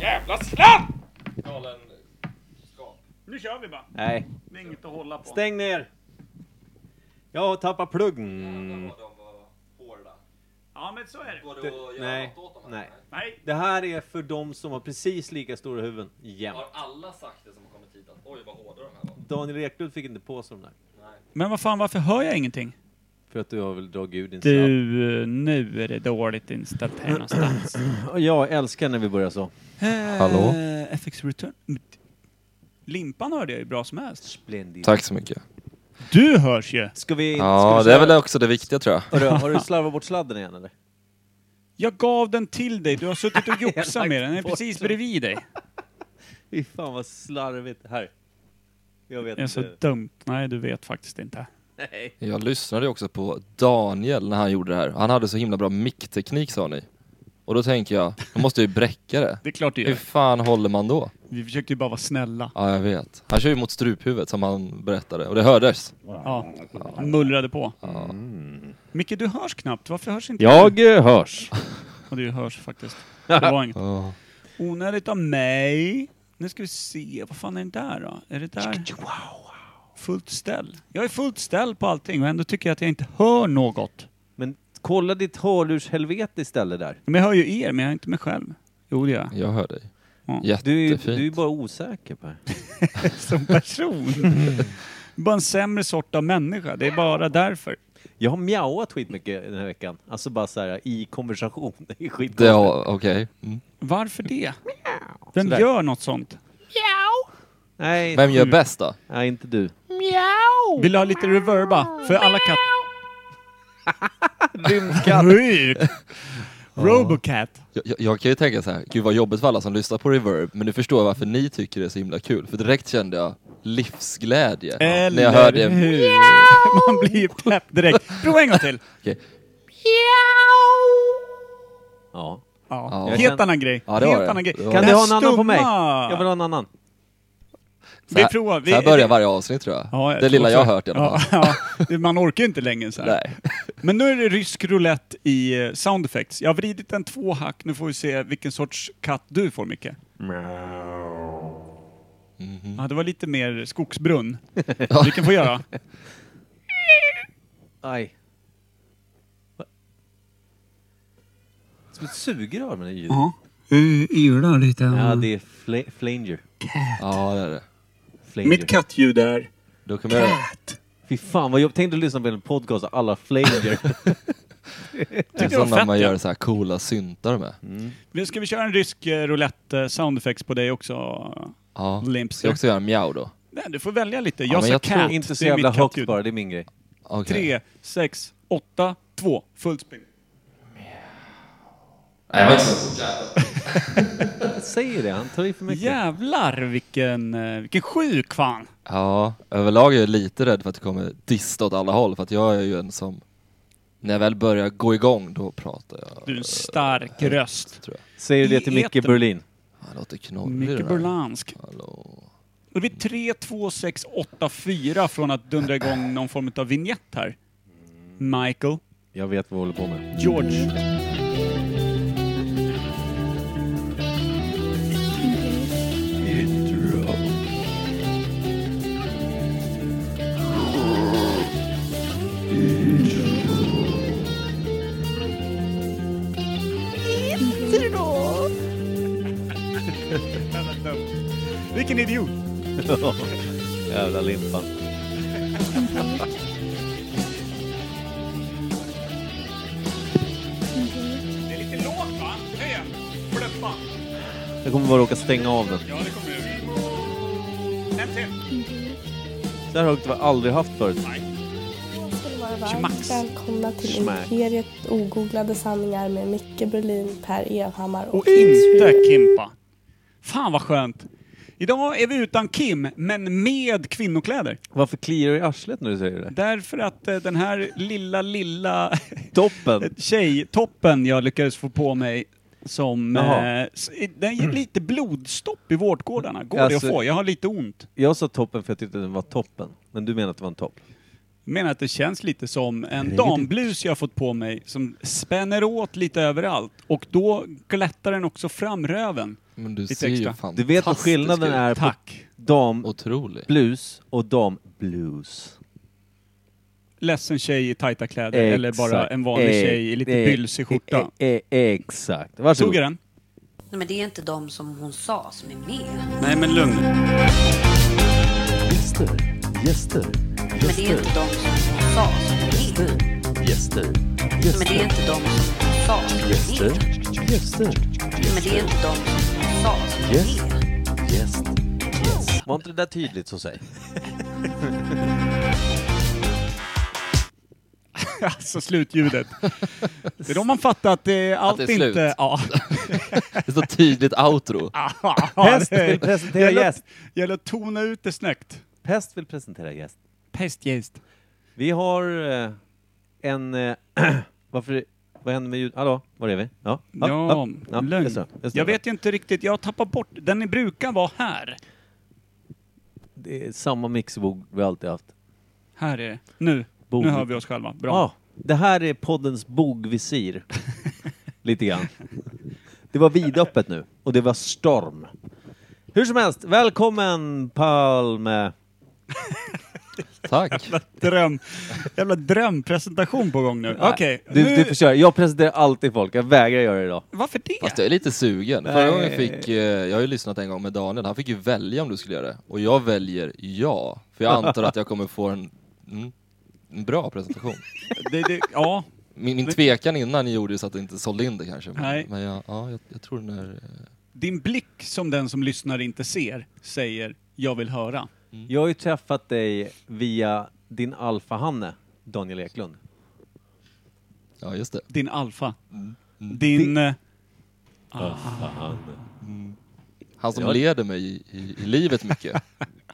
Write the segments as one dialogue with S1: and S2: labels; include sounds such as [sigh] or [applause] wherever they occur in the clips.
S1: Jävla sladd!
S2: Galen skap.
S3: Nu kör vi bara.
S4: Nej,
S3: Det är inget att hålla på.
S4: stäng ner. Jag har tappat pluggen.
S5: Mm.
S2: Jävlar vad de var hårda.
S3: Ja, men så är det.
S2: Går det att göra
S4: nej,
S2: något åt dem? här?
S4: nej.
S3: Nej,
S4: Det här är för de som har precis lika stora huvuden jämt.
S2: Har alla sagt det som har kommit hit att oj vad hårda de här var?
S4: Daniel Eklund fick inte på sig de där.
S2: Nej.
S6: Men vad fan, varför hör jag ingenting?
S4: För att du har väl dragit ur din sladd.
S6: Du, nu är det dåligt inställt här [clears throat] någonstans.
S4: Och Jag älskar när vi börjar så.
S6: Hallå? FX Eh, Return. Limpan hörde jag ju bra som helst.
S4: Splendid.
S5: Tack så mycket.
S6: Du hörs ju!
S4: Ska vi... ska
S5: Ja,
S4: vi
S5: det är
S4: slarva-
S5: väl också det viktiga tror jag.
S4: Hörru, har du slarvat bort sladden igen eller?
S6: Jag gav den till dig, du har [laughs] suttit och joxat med den. Den är
S4: bort
S6: precis
S4: den.
S6: bredvid dig.
S4: Fy fan vad slarvigt. Här. Jag vet
S6: Det är så
S4: inte.
S6: dumt. Nej, du vet faktiskt inte.
S4: Nej.
S5: Jag lyssnade ju också på Daniel när han gjorde det här. Han hade så himla bra mickteknik sa ni. Och då tänker jag, då måste jag ju bräcka det.
S6: Det är klart du
S5: Hur
S6: gör.
S5: fan håller man då?
S6: Vi försökte ju bara vara snälla.
S5: Ja, jag vet. Han kör ju mot struphuvudet som han berättade. Och det hördes.
S6: Ja. Han mullrade på.
S5: Ja.
S6: Micke, du hörs knappt. Varför hörs inte du?
S4: Jag eh, hörs.
S6: Ja, du hörs [laughs] faktiskt. Det var inget.
S5: Ja.
S6: Onödigt av mig. Nu ska vi se, vad fan är det där då? Är det där? Fullt ställ. Jag är fullt ställ på allting och ändå tycker jag att jag inte hör något.
S4: Men kolla ditt hörlurshelvete istället där.
S6: Men jag hör ju er, men jag är inte mig själv. Jo, det gör jag.
S5: Jag hör dig.
S6: Ja.
S4: Mm. Du är ju
S5: Jättefint.
S4: du är ju bara osäker Per.
S6: Som person. bara en sämre sort av människa. Det är bara därför.
S4: Jag har mjauat skitmycket den här veckan. Alltså bara så här i konversation. [laughs] Det är skitkonstigt.
S5: Det, ja, okej. Mm.
S6: Varför det? Vem
S4: Sådär.
S6: gör något sånt?
S4: Nej,
S5: Vem gör
S4: sjukt.
S5: bäst då?
S4: Nej, inte du.
S6: Vill du ha lite reverba? För alla katter... [laughs]
S4: Rymdkatt.
S6: Robocat.
S5: Jag, jag- jag kan ju tänka så här, gud vad jobbigt för alla som lyssnar på reverb, men nu förstår jag varför ni tycker det är så himla kul. För direkt kände jag livsglädje när jag hörde...
S6: hur? [laughs] Man blir ju pepp direkt. Prova en gång till.
S5: Okej.
S4: Ja.
S6: Ja.
S5: Ja.
S6: Helt annan grej.
S5: Ja, det var
S6: Helt
S5: det.
S6: annan grej.
S5: Det var
S4: Kan
S5: det.
S6: Den
S4: du
S6: här
S4: ha en annan på mig?
S6: stumma-
S4: Jag vill ha en annan.
S6: Vi provar. Vi,
S5: så här börjar varje avsnitt tror jag.
S6: Ja,
S5: det
S6: tror
S5: lilla
S6: också.
S5: jag har hört i alla fall.
S6: Ja, ja. Det- Man orkar ju inte längre så här.
S5: Nej.
S6: Men nu är det rysk roulette i eh, sound effects. Jag har vridit den två hack. Nu får vi se vilken sorts katt du får, Micke. Ja, det var lite
S5: [laughs]
S6: mer skogsbrunn. Vilken får göra?
S4: Aj. Va? Som ett sugrör med det ljudet.
S6: Ja. Ylar lite.
S4: Ja, det är fla- flanger.
S5: Ja, det är det.
S4: flanger.
S6: kattljud är...
S5: Då kommer jag...
S4: Fy fan vad jag tänkte lyssna på en podcast av
S5: [laughs]
S4: alla flanger.
S5: Det är
S6: det var
S5: som när
S6: fett,
S5: man
S6: ja. Mm.
S5: gör så här coola syntar med.
S6: Nu ska vi köra en rysk eh, roulette eh, sound effects på dig också?
S5: Ja. Ska
S6: Limpska.
S5: jag också göra en mjau då?
S6: Nej, du får välja lite. Jag
S5: men
S6: sa
S5: jag tror
S6: cat.
S4: Inte så
S6: Det är
S4: jävla
S6: mitt
S4: högt
S6: kattljud.
S4: bara, det är min grej.
S5: Okej.
S6: Tre, sex, åtta, två. Fullt spinn.
S5: Nej, men så-
S4: Jag säger det, han tar i för mycket.
S6: Jävlar vilken, eh, vilken sjuk fan.
S5: Ja, överlag är jag lite rädd för att det kommer dista åt alla håll. För att jag är ju en som... När jag väl börjar gå igång, då pratar jag.
S6: Du är en stark
S5: Äh,
S6: röst.
S5: Tror jag.
S4: Säger du det
S6: I
S4: till Micke
S6: etern.
S4: Berlin?
S5: Han låter knorrig
S6: Micke
S5: den här.
S6: Berlansk.
S5: Hallå.
S6: Och det blir 3, 2, 6, 8, 4 från att dundra igång någon form av vignett här. Michael.
S4: Jag vet vad jag håller på med.
S6: George. Vilken idiot!
S4: Jävla limpan.
S6: Det är lite lågt va? Höj den. Flöppa.
S4: Jag kommer bara råka stänga av den.
S6: Ja, det kommer ur. En till.
S4: Så här högt har jag aldrig haft förut.
S7: skulle vara
S6: Schmax.
S7: varmt välkomna till
S4: Schmack.
S7: Imperiet Ogooglade sanningar med Micke Berlin, Per Evhammar och,
S6: Och inte Kimpa. Fan vad skönt. Idag är vi utan Kim, men med kvinnokläder.
S4: Varför kliar du i arslet när du säger det?
S6: Därför att eh, den här lilla, lilla eh,
S4: Toppen!
S6: tjejtoppen jag lyckades få på mig som...
S4: Jaha.
S6: Eh, s- den ger lite blodstopp i vårtgårdarna. Går det
S4: Alltså-
S6: att få? Jag har lite ont.
S4: Jag sa toppen för jag tyckte den var toppen. Men du menar att det var en topp?
S6: Jag menar att det känns lite som en damblus jag har fått på mig som spänner åt lite överallt och då glättar den också fram röven.
S5: Men du
S6: Lite
S5: ser ju
S6: extra.
S5: fantastisk
S4: Du vet vad skillnaden
S5: ut.
S4: är på
S6: Tack!
S4: [laughs]
S5: Otrolig.
S4: damblues och damblues?
S6: Ledsen tjej i tajta kläder eller bara
S4: Exakt.
S6: en vanlig
S4: Eh,
S6: tjej i lite
S4: eh,
S6: bylsig skjorta.
S4: eh, eh, eh, Exakt.
S6: Tog
S4: Varsågod.
S6: jag den?
S8: Nej, men det är inte de som hon sa som är med.
S6: Nej men lugn
S9: Gäster, gäster,
S8: Men det är inte de som hon sa som är med.
S9: gäster,
S8: Men det är inte de som hon sa som är med.
S9: gäster,
S8: Men det är inte de som hon sa som är med.
S9: gäst, gäst.
S4: Var inte det där tydligt så säg?
S6: [laughs] Alltså slutljudet. Det är då man fattar att det är allt
S5: det är slut.
S6: inte... Ja.
S5: Det är så tydligt
S6: [laughs]
S5: outro.
S4: Pest vill presentera
S6: gäller,
S4: gäst.
S6: gäller att tona ut det snyggt.
S4: Pest vill presentera gäst.
S6: Pestgäst.
S4: Vi har eh, en... eh, [clears throat] Varför... Vad händer med ljud? Hallå, var är vi? Ja,
S6: Ja, lögn.
S4: just det, just det.
S6: jag vet ju inte riktigt, jag tappar bort, den brukar vara här.
S4: Det är samma mixbord vi alltid haft.
S6: Här är det. Nu.
S4: Bog.
S6: Nu hör vi oss själva. Bra.
S4: Ja, det här är
S6: [laughs]
S4: poddens bogvisir. Lite grann. Det var vidöppet nu och det var storm. Hur som helst, välkommen Palme.
S6: [laughs]
S5: Tack.
S6: Dröm. Jävla drömpresentation på gång nu. Okej.
S4: Ah. Du,
S6: nu-
S4: du får köra. Jag presenterar alltid folk. Jag vägrar göra det idag.
S6: Varför det?
S5: Fast jag är lite sugen. Förra gången fick, eh, jag har ju lyssnat en gång med Daniel, han fick ju välja om du skulle göra det. Och jag väljer ja, för jag antar att jag kommer få en, mm, en bra presentation.
S6: Det, det, ja.
S5: Min,
S6: [laughs]
S5: min tvekan innan gjorde ju så att jag inte sålde in det kanske. Men,
S6: Nej.
S5: men jag, ja, jag, jag tror den är... eh,
S6: Din blick som den som lyssnar inte ser säger jag vill höra.
S4: Jag har ju träffat dig via din alfahanne, Daniel Eklund.
S5: Ja, just det.
S6: Din alfa. Din... eh,
S5: Han som leder mig i, i, i livet
S6: [laughs]
S5: mycket.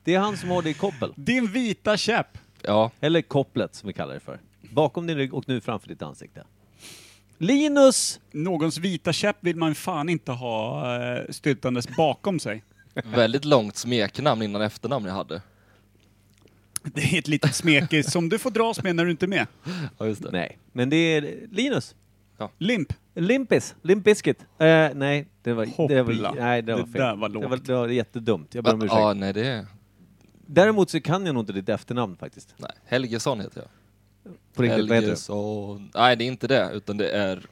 S4: Det är han som har dig i koppel.
S6: Din vita käpp.
S5: Ja,
S4: Eller kopplet som vi kallar det för. Bakom din rygg och nu framför ditt ansikte. Linus!
S6: Någons vita käpp vill man fan inte ha eh, styltandes bakom sig.
S5: väldigt långt smeknamn innan efternamn jag hade.
S6: Det är ett litet smekis som du får dras med när du inte är med.
S5: Ja, just det.
S4: Nej, men det är Linus.
S6: Limp.
S4: Limpis, Limp Bizkit. Eh, nej, det var, det
S6: Hoppla.
S4: var, nej, det var
S6: Det
S4: fel.
S6: där var lågt.
S4: Det var, det var jättedumt. Jag ber om
S5: Va?
S4: ursäkt.
S5: Ja, nej det är...
S4: Däremot så kan jag nog inte ditt efternamn faktiskt.
S5: Nej. Helgesson heter jag.
S4: På riktigt, vad heter det?
S5: Helgesson. Nej, det är inte det, utan det är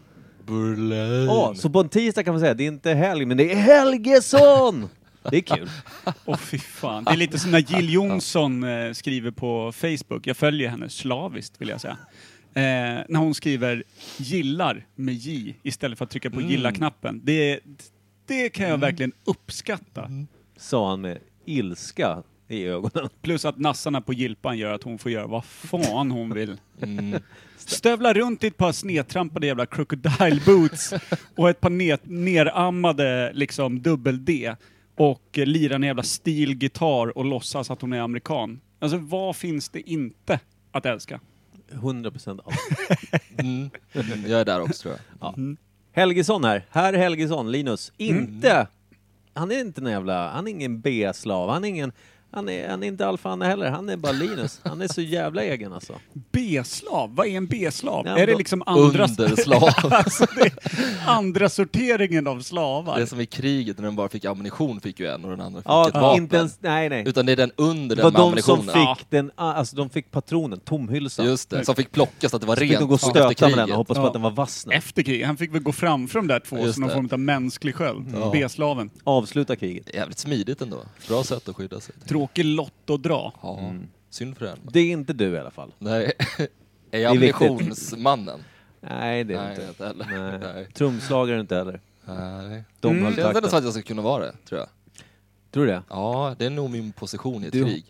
S5: Berlin.
S4: Ja, så på en tisdag kan man säga, det är inte helg, men det är Helgesson! Det
S5: [laughs]
S4: är kul.
S6: [laughs] Åh fy fan. Det är lite som när Jill Johnson eh, skriver på Facebook. Jag följer henne slaviskt vill jag säga. Eh, när hon skriver gillar med J istället för att trycka på gilla-knappen. Det, det kan jag verkligen uppskatta.
S4: Sa han med ilska i ögonen.
S6: Plus att nassarna på gilpan gör att hon får göra vad fan hon vill.
S5: Mm.
S6: Stövla runt i ett par snedtrampade jävla crocodile boots och ett par ne- nerammade liksom dubbel-D och eh, lirar en jävla stilgitarr och låtsas att hon är amerikan. Alltså vad finns det inte att älska?
S4: 100% av.
S5: Mm. Mm, Jag är där också tror jag.
S4: Mm. Helgesson här. Herr Helgesson, Linus. Inte... Han är inte någon jävla... Han är ingen B-slav. Han är ingen... Han är, han är inte alfahanne heller. Han är bara Linus. Han är så jävla egen alltså.
S6: B-slav, vad är en B-slav?
S4: Ja,
S6: är det
S4: då-
S6: liksom andra, [laughs] Alltså,
S5: Underslav.
S6: andra sorteringen av slavar?
S5: det är som i kriget när de bara fick ammunition fick ju en och den andra fick
S4: Ja,
S5: ett vapen.
S4: inte ens... Nej, nej.
S5: Utan det är den under
S4: Det
S5: den
S4: var
S5: med
S4: de som
S5: ammunitionen.
S4: fick
S5: Ja,
S4: den, alltså de fick patronen, tomhylsan.
S5: Just det, som fick plockas så att det var
S4: Så fick
S5: rent
S4: de gå och
S5: efter
S4: stöta med den och
S5: kriget.
S4: hoppas på
S6: Ja.
S4: att den var vass nu.
S6: Efter kriget, han fick väl gå fram för de där två
S5: Just
S6: som någon
S5: det. Mm.
S6: form av mänsklig sköld. B-slaven.
S4: Avsluta kriget.
S5: Jävligt smidigt ändå. Bra sätt att skydda sig.
S6: Tråkig lott att dra.
S5: Ja,
S4: Mm.
S5: synd för den.
S4: Det är inte du i alla fall.
S5: Nej, är [laughs] jag
S4: är viktigt.
S5: ammunitionsmannen?
S4: Nej, det är
S5: Nej,
S4: inte.
S5: inte heller. Nej.
S4: Nej. Mm. Trumslagare är inte heller.
S5: Nej.
S4: De
S5: Det
S4: höll
S5: känns ändå
S4: takten.
S5: som att jag skulle kunna vara det, tror jag.
S4: Tror du det?
S5: Ja, det är nog min position i ett
S4: Du-
S5: krig.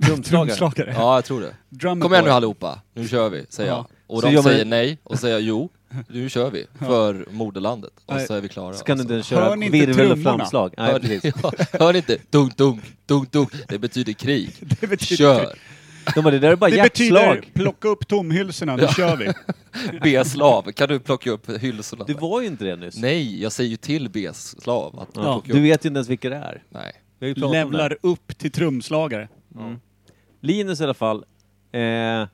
S4: Trumslagare?
S6: Trumslagare.
S5: Ja, jag tror det.
S6: Drummer
S5: Kom igen
S6: boy.
S5: nu allihopa, nu kör vi, säger
S6: Ja.
S5: jag. Och
S4: Så
S5: de
S4: gör man-
S5: säger nej, och säger jag jo, nu kör vi, för moderlandet. Och
S6: Nej.
S5: så är vi klara.
S4: Så kan du
S5: och
S4: inte ens
S6: Hör
S4: köra
S6: ni inte
S4: virvel och
S6: trummorna?
S4: framslag? Nej,
S5: Alltså, Hör,
S4: precis.
S5: [laughs] ja, hör ni inte? Dunk, dunk, dunk, dunk. Det betyder krig.
S6: Det betyder-
S5: Kör!
S4: De bara, det där är bara
S6: Det betyder
S4: hjärtslag.
S6: plocka upp tomhylsorna, nu
S5: [laughs]
S6: kör vi.
S5: B-slav, kan du plocka upp hylsorna?
S4: Du var ju inte det nyss.
S5: Nej, jag säger ju till B-slav att
S4: Ja.
S5: plocka
S4: Du
S5: upp.
S4: vet ju inte ens vilka det är.
S5: Nej.
S4: Vi har ju pratat om det.
S6: Levlar upp till trumslagare.
S4: Linus i alla fall, Eh,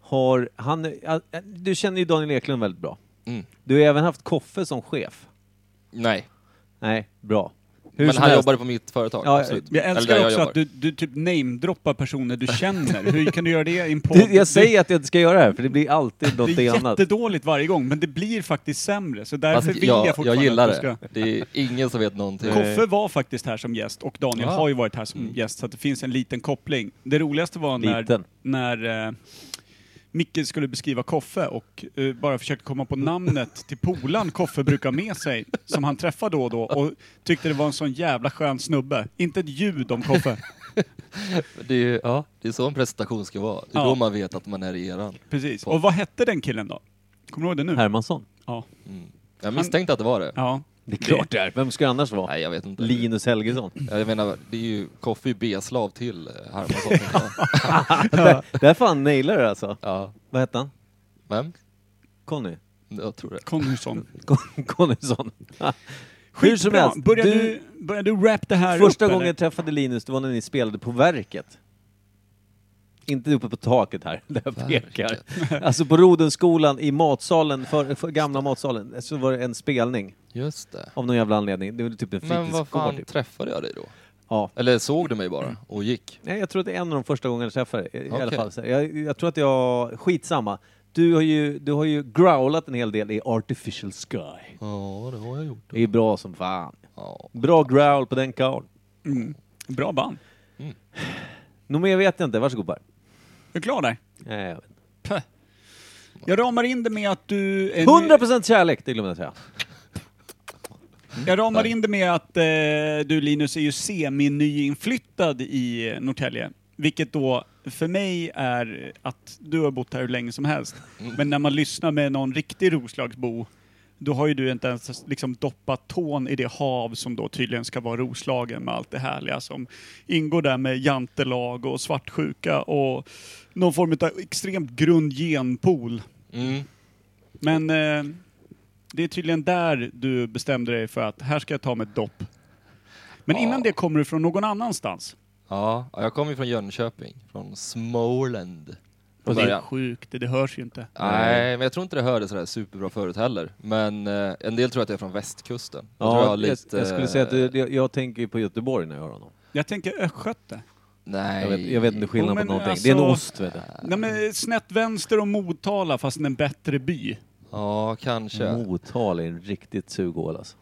S4: har han, ja, du känner ju Daniel Eklund väldigt bra.
S5: Mm.
S4: Du har även haft Koffe som chef.
S5: Nej,
S4: Nej, bra. Hur
S5: men
S4: som
S5: han
S4: helst.
S5: jobbade på mitt företag.
S4: Ja,
S5: absolut.
S6: Jag
S5: Eller där
S6: älskar också
S5: jobbar.
S6: att du, du typ namedroppar personer du känner. Hur kan du göra det i en podd?
S4: Du, jag säger att jag inte ska göra det här, för det blir alltid
S5: [laughs]
S6: det,
S4: något
S6: det är
S4: annat.
S6: jättedåligt varje gång, men det blir faktiskt sämre. Så därför
S5: Fast
S6: vill
S5: jag,
S6: jag
S5: jag,
S6: fortfarande
S5: gillar
S6: att du
S5: det. Det är ingen som vet
S4: Eh,
S5: någonting.
S6: Eh, Koffe var faktiskt här som gäst och Daniel
S5: Ah.
S6: har ju varit här som gäst så att det finns en liten koppling. Det roligaste var när,
S4: Mm. Liten.
S6: när eh, Micke skulle beskriva Koffe och eh, bara försökte komma på namnet till polan Koffe brukar ha med sig som han träffar då och då och tyckte det var en sån jävla skön snubbe. Inte ett ljud om Koffe.
S5: Det är, ju- ja, det är så en presentation ska vara. Det är
S6: Ja.
S5: då man vet att man är i eran.
S6: Precis. Och vad hette den killen då? Kommer du ihåg det nu?
S4: Hermansson.
S6: Ja.
S5: Jag misstänkte att det var det.
S6: ja.
S4: Det är klart det är. Vem ska det annars vara?
S5: Nej, jag vet inte.
S4: Linus Helgesson.
S5: Ja, Jag menar, det är ju Koffe är ju B-slav till eh, Hermansson.
S4: Där, där fan nailar du alltså.
S5: ja.
S4: Vad hette han?
S5: Vem?
S4: Conny?
S5: Jag tror det.
S6: Connyson.
S4: Con- [laughs] Connysson. Hur som
S6: Skitbra!
S4: helst,
S6: Börjar
S4: du-
S6: du, börjar du rap det här
S4: Första
S6: upp,
S4: gången
S6: eller?
S4: jag träffade Linus, det var när ni spelade på verket. Inte uppe på taket här, där jag pekar. [laughs] Alltså på Rodenskolan i matsalen, för, för gamla matsalen, så var det en spelning
S5: Just det.
S4: av någon jävla anledning. Det var typ en
S5: Men vad
S4: fritidsgård.
S5: fan
S4: Typ.
S5: träffade jag dig då?
S4: Ja.
S5: Eller såg du mig bara och gick?
S4: Nej, jag tror att det är en av de första gångerna jag träffade dig, i alla
S5: Okej.
S4: fall. Så Jag, jag tror att jag... Skitsamma. Du har, ju, du har ju growlat en hel del i Artificial Sky.
S5: Ja, det har jag gjort.
S4: Det är bra som fan.
S5: Ja.
S4: Bra growl på den karln.
S6: Mm. [laughs] Bra band.
S4: Nå mer vet jag inte, varsågod Per.
S6: Är du klar där?
S4: Nej, jag vet inte.
S6: Jag ramar in det med att du... eh,
S4: 100% kärlek, det glömde jag säga.
S6: Jag ramar in det med att eh, du Linus är ju semi-nyinflyttad i eh, Norrtälje. Vilket då för mig är att du har bott här hur länge som helst. Men när man lyssnar med någon riktig Roslagsbo, då har ju du inte ens liksom doppat tån i det hav som då tydligen ska vara Roslagen med allt det härliga som ingår där med jantelag och svartsjuka och någon form av extremt grund genpool.
S5: Mm.
S6: Men eh, det är tydligen där du bestämde dig för att här ska jag ta mig ett dopp. Men innan
S5: Ja.
S6: det kommer du från någon annanstans.
S5: Ja, jag kommer ju från Jönköping, från Småland.
S6: Och
S5: Från
S6: det är
S5: början.
S6: sjukt, det, det hörs ju inte.
S5: Nej, men jag tror inte det hördes sådär superbra förut heller. Men eh, en del tror att jag är från västkusten. Då tror
S4: Ja, jag,
S5: har lite,
S4: jag skulle säga att
S5: eh,
S4: jag, jag, jag tänker ju på Göteborg när jag hör honom.
S6: Jag tänker östgöte.
S5: Nej.
S4: Jag vet, jag vet inte
S6: Jo,
S4: skillnaden på
S6: men
S4: någonting.
S6: alltså-
S4: Det är en ost, vet du.
S6: Nej men snett vänster om Motala fast en bättre by.
S5: Ja, kanske.
S4: Motala är en riktigt sugål alltså.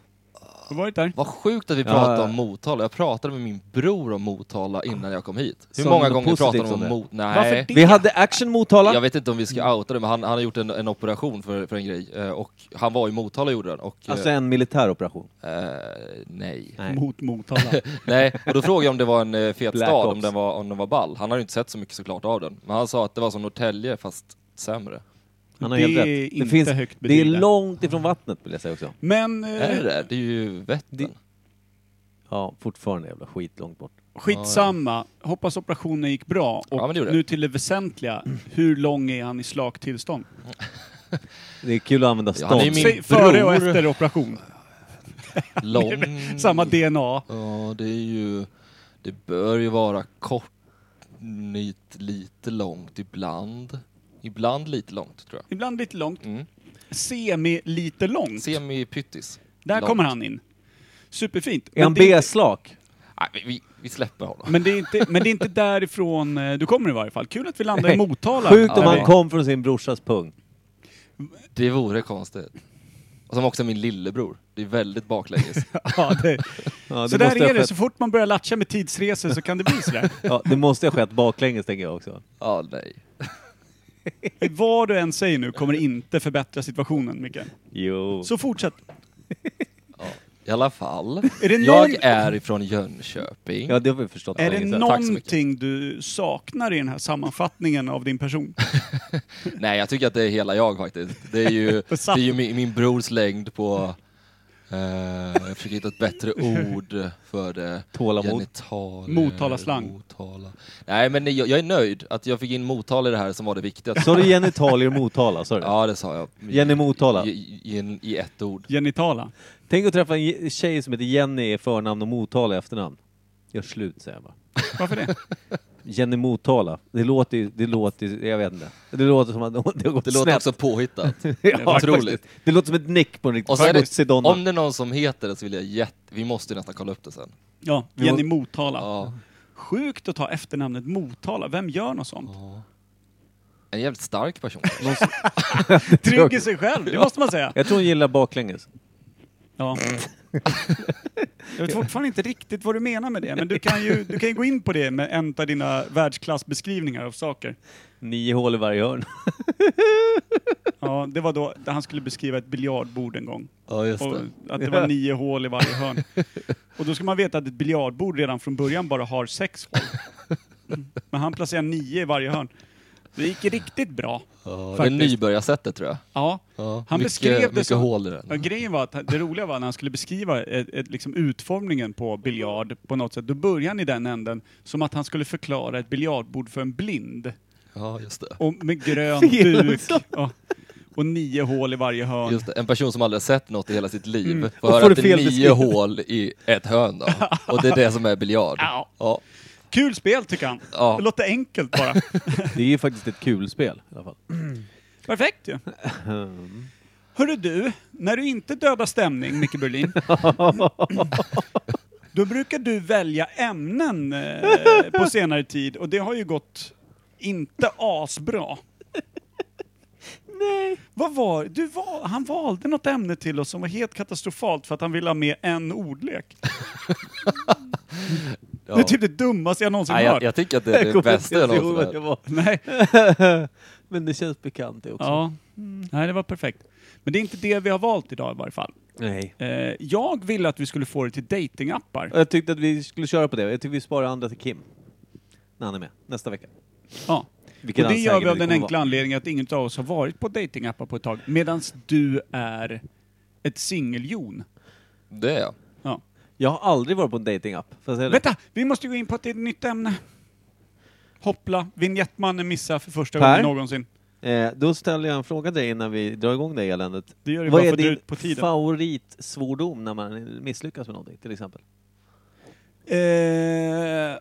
S6: Har du varit där?
S5: Vad sjukt att vi
S4: Ja,
S5: pratar
S4: ja.
S5: om Motala. Jag pratade med min bror om Motala innan jag kom hit. Hur
S4: Sa
S5: många
S4: du något
S5: gånger pratade
S4: positivt
S5: de om
S4: om det?
S5: Motala? Nej.
S6: Varför
S4: Vi
S6: det?
S4: hade Action
S5: Jag
S4: Motala.
S5: vet inte om vi ska outa det, men han, han har gjort en, en operation för, för en grej. Eh, och han var i Motala och gjorde den. Och, eh,
S4: Alltså en militär operation.
S5: eh, nej.
S4: Nej.
S6: Mot Motala.
S5: nej. Och då frågade jag om det var en eh, fet
S4: Black
S5: stad,
S4: Ops.
S5: om den, var, om den var ball. Han har ju inte sett så mycket såklart av den. Men han sa att det var som Norrtälje, fast sämre.
S4: Han har
S6: Det
S4: helt rätt.
S6: är inte högt
S4: det är
S6: betyg där.
S4: långt ifrån vattnet vill jag säga också.
S5: [laughs]
S6: Men
S5: Är det
S6: eh,
S5: det? Det är ju
S4: Det- [laughs]
S5: Vättern.
S4: Ja, fortfarande jävla skit långt bort.
S6: skitsamma. Hoppas operationen gick bra. Och
S5: Ja, men det gjorde
S6: nu
S5: det.
S6: till det väsentliga. Hur lång är han i slagtillstånd?
S4: Det är kul att använda
S5: Ja, han är
S4: stånd.
S5: ju min
S6: Säg före och
S5: bror.
S6: efter operation.
S5: Lång.
S6: [laughs] Samma DNA.
S5: Ja, det är ju... Det bör ju vara kort, nit, lite långt ibland. Ibland lite långt, tror jag.
S6: Ibland lite långt.
S5: Mm.
S6: Semi lite långt.
S5: Semi-pyttis.
S6: Där
S5: långt.
S6: kommer han in. Superfint.
S4: Är han
S6: det är inte-
S4: B-slak?
S5: Nej, vi- vi, vi släpper honom.
S6: men, det är inte, men det är inte därifrån eh, du kommer i varje fall. Kul att vi landar i
S4: Nej.
S6: Motala.
S4: Sjukt om
S6: Ja,
S4: han
S6: vi-
S4: kom från sin brorsas pung.
S5: Det vore konstigt. Och som också är min lillebror. Det är väldigt
S6: [laughs]
S5: baklänges.
S6: Ja, det,
S4: Ja, det
S6: så där
S4: måste ha
S6: är det,
S4: skett-
S6: så fort man börjar latcha med tidsresor så kan det bli
S4: [laughs]
S6: sådär.
S4: Ja, det måste ha skett baklänges tänker jag också.
S5: Ja, nej.
S6: Vad du än säger nu kommer det inte förbättra situationen, Micke.
S4: Jo.
S6: Så fortsätt.
S5: I alla fall.
S6: Är det någon-
S5: Jag är ifrån Jönköping.
S4: Ja, det har vi förstått.
S6: Är
S4: för länge
S6: det
S4: sedan.
S5: tack så
S6: någonting du saknar i den här sammanfattningen av din person?
S5: Nej, jag tycker att det är hela jag faktiskt. Det är ju, det är ju min, min brors längd på... Eh, jag försöker hitta ett bättre ord för det.
S4: Tålamod.
S5: Genitaler.
S6: Motalaslang.
S5: Motala. Nej, men jag, jag är nöjd att jag fick in Motala i det här som var det viktigaste.
S4: Sa du genitalier Motala? Sa du det?
S5: Ja, det sa jag.
S4: Jenny Motala.
S5: I, i, i, I ett ord.
S6: Genitala.
S4: Tänk att träffa en ge- tjej som heter Jenny i förnamn och Motala i efternamn. Gör slut säger jag bara.
S6: Varför det?
S4: Jenny Motala. Det låter ju, det låter ju- jag vet inte. Det låter som att [laughs] det har gått
S5: Det låter
S4: snett.
S5: också påhittat.
S4: ja,
S5: [laughs] otroligt.
S4: faktiskt. Det låter som ett nick på en riktig
S5: Och så är
S4: smutsig
S5: det,
S4: donna.
S5: om det är någon som heter det så vill jag jätte... Vi måste ju nästan kolla upp det sen.
S6: Ja, Jenny Motala.
S5: Ja.
S6: Sjukt att ta efternamnet Motala. Vem gör något sånt?
S5: En jävligt stark person.
S6: Trygg i sig själv, det måste man säga.
S4: Jag tror hon gillar baklänges.
S6: Ja. Jag vet fortfarande inte riktigt vad du menar med det, men du kan ju, du kan ju gå in på det med en av dina världsklassbeskrivningar av saker.
S4: Nio hål i varje hörn. [laughs]
S6: Ja, det var då där han skulle beskriva ett biljardbord en gång.
S5: Ja, just
S6: Och
S5: det.
S6: att det var nio hål i varje hörn. Och då ska man veta att ett biljardbord redan från början bara har sex hål. Mm. Men han placerar nio i varje hörn. Det gick riktigt bra.
S5: Ja, det är
S6: faktiskt.
S5: nybörjarsättet tror jag.
S6: Ja.
S5: Ja,
S6: Han
S5: mycket,
S6: beskrev det
S5: mycket
S6: som-
S5: hål i
S6: Ja,
S5: den.
S6: grejen var att det roliga var när han skulle beskriva ett, ett, liksom utformningen på biljard på något sätt, då började han i den änden som att han skulle förklara ett biljardbord för en blind.
S5: Ja, just det.
S6: Och
S5: [laughs]
S6: med grön
S4: Fel
S6: duk.
S4: också.
S6: Ja. Och nio hål i varje hörn.
S5: Just det. En person som aldrig har sett något i hela sitt liv
S6: Mm.
S5: får
S4: Och
S5: höra
S4: får
S5: att
S4: det
S5: det är
S4: fel
S5: nio
S4: beskrivet.
S5: hål i ett hörn
S6: [laughs]
S5: då. Och det är det som är biljard.
S6: Ja.
S5: Ja.
S6: Kul spel tycker han.
S5: Ja.
S6: Det låter enkelt bara.
S4: Det är ju faktiskt ett kul spel i alla fall.
S5: [laughs]
S6: Perfekt ju. Hörru du, när du inte dödar stämning, Micke Berlin,
S5: [laughs]
S6: då brukar du välja ämnen eh, på senare tid och det har ju gått inte asbra. Nej. Vad var du var, Han valde något ämne till oss som var helt katastrofalt för att han ville ha med
S5: [laughs]
S6: en ordlek. Det är typ det dummaste jag någonsin
S5: Nej, jag,
S6: hört.
S5: jag tycker att det är det
S4: kommer
S5: bästa jag
S4: inte ihåg
S5: någonsin
S4: vad
S5: hört.
S4: det var.
S6: Nej.
S4: [laughs] Men det känns bekant det också.
S6: Ja. Nej, det var perfekt. Men det är inte det vi har valt idag i varje fall.
S4: Nej.
S6: Eh, jag ville att vi skulle få det till datingappar.
S4: Och Jag tyckte att vi skulle köra på det. Jag tycker vi sparar andra till Kim. När han är med. Nästa vecka.
S6: Ja. Och
S4: Vilket
S6: det
S4: han
S6: gör vi
S4: säkert
S6: av den
S4: kommer
S6: enkla anledningen att ingen av oss har varit på datingappar på ett tag. Medan du är ett singeljon.
S5: Det är jag.
S6: Ja.
S4: vara. Jag har aldrig varit på en datingapp. Får jag säga det?
S6: Vänta! Vi måste gå in på ett nytt ämne. Hoppla, vignettmannen missar för första gången
S4: Per?
S6: någonsin.
S4: Eh, då ställer jag en fråga till dig innan vi drar igång det eländet.
S6: Det gör det
S4: Vad
S6: bara
S4: är
S6: för att dra
S4: din
S6: ut på tiden.
S4: favoritsvordom när man misslyckas med någonting till exempel?
S6: Eh,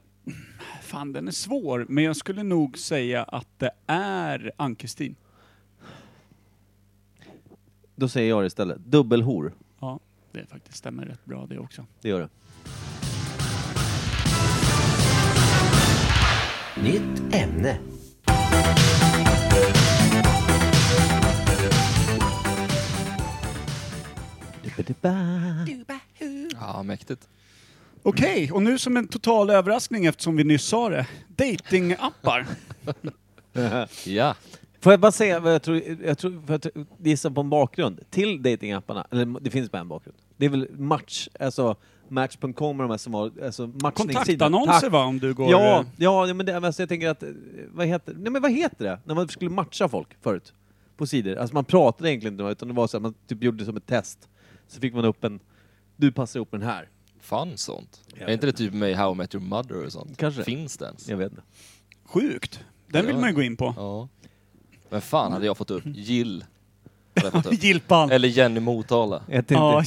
S6: fan, den är svår. Men jag skulle nog säga att det är Ann-Kristin.
S4: Då säger jag det istället. Dubbelhor.
S6: Ja, det faktiskt stämmer rätt bra det också.
S4: Det gör det.
S9: Nytt ämne.
S5: Ja, mäktigt.
S6: Okej, och nu som en total överraskning eftersom vi nyss sa det. Datingappar.
S5: Ja.
S4: Får jag bara säga vad jag tror, jag tror för att gissa på en bakgrund till datingapparna. eller det finns bara en bakgrund. Det är väl match, alltså match.com och de här som har, alltså matchningssidor.
S6: Kontaktannonser
S4: Tack.
S6: va, om du går...
S4: Ja,
S6: eh,
S4: ja, ja, men det, alltså jag tänker att, eh, vad heter, nej men vad heter det? När man skulle matcha folk förut, på sidor. Alltså man pratade egentligen inte, utan det var så att man typ gjorde det som ett test. Så fick man upp en, du passar ihop med den här.
S5: Fan sånt.
S4: Jag
S5: är inte det typ med i How I Met Your Mother och sånt?
S4: Kanske.
S5: Finns det ens?
S4: Jag vet inte.
S6: Sjukt. Den vill
S5: Ja.
S6: man ju gå in på.
S5: Ja. Men fan hade jag fått upp Jill. Hade jag
S6: [laughs]
S5: fått upp.
S6: Gilpan.
S5: Eller Jenny Motala.
S4: Jag tänkte,
S6: Ja,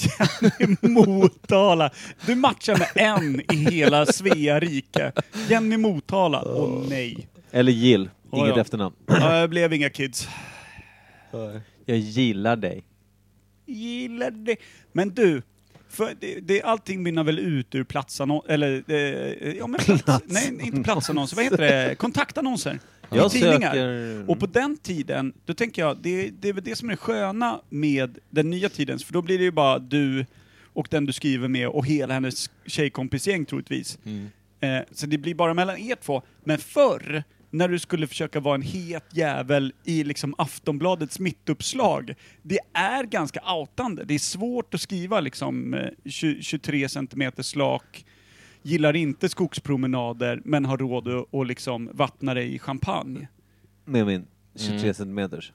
S6: Jenny Motala. Du matchar med en i hela Svea rike. Jenny Motala. Åh nej.
S4: Eller Jill,
S6: Ja,
S4: inget
S6: ja.
S4: efternamn.
S6: Ja, det blev inga kids.
S4: Jag gillar dig.
S6: Gillar det. Men du, för det, det, allting mynnar väl ut ur platsannonser, eller... Eh, ja, men plats, nej, inte platsannonser. Vad heter det? Kontaktannonser. I
S4: Jag
S6: tidningar.
S4: söker...
S6: Och på den tiden, då tänker jag, det, det är väl det som är det sköna med den nya tidens, för då blir det ju bara du och den du skriver med och hela hennes tjejkompisgäng troligtvis. Eh, så det blir bara mellan er två. Men förr, när du skulle försöka vara en het jävel i liksom Aftonbladets mittuppslag, det är ganska outande. Det är svårt att skriva liksom eh, 20, 23 centimeter slak, gillar inte skogspromenader, men har råd att, att liksom vattna dig i champagne.
S4: Med min 23
S6: Mm.
S4: centimeters.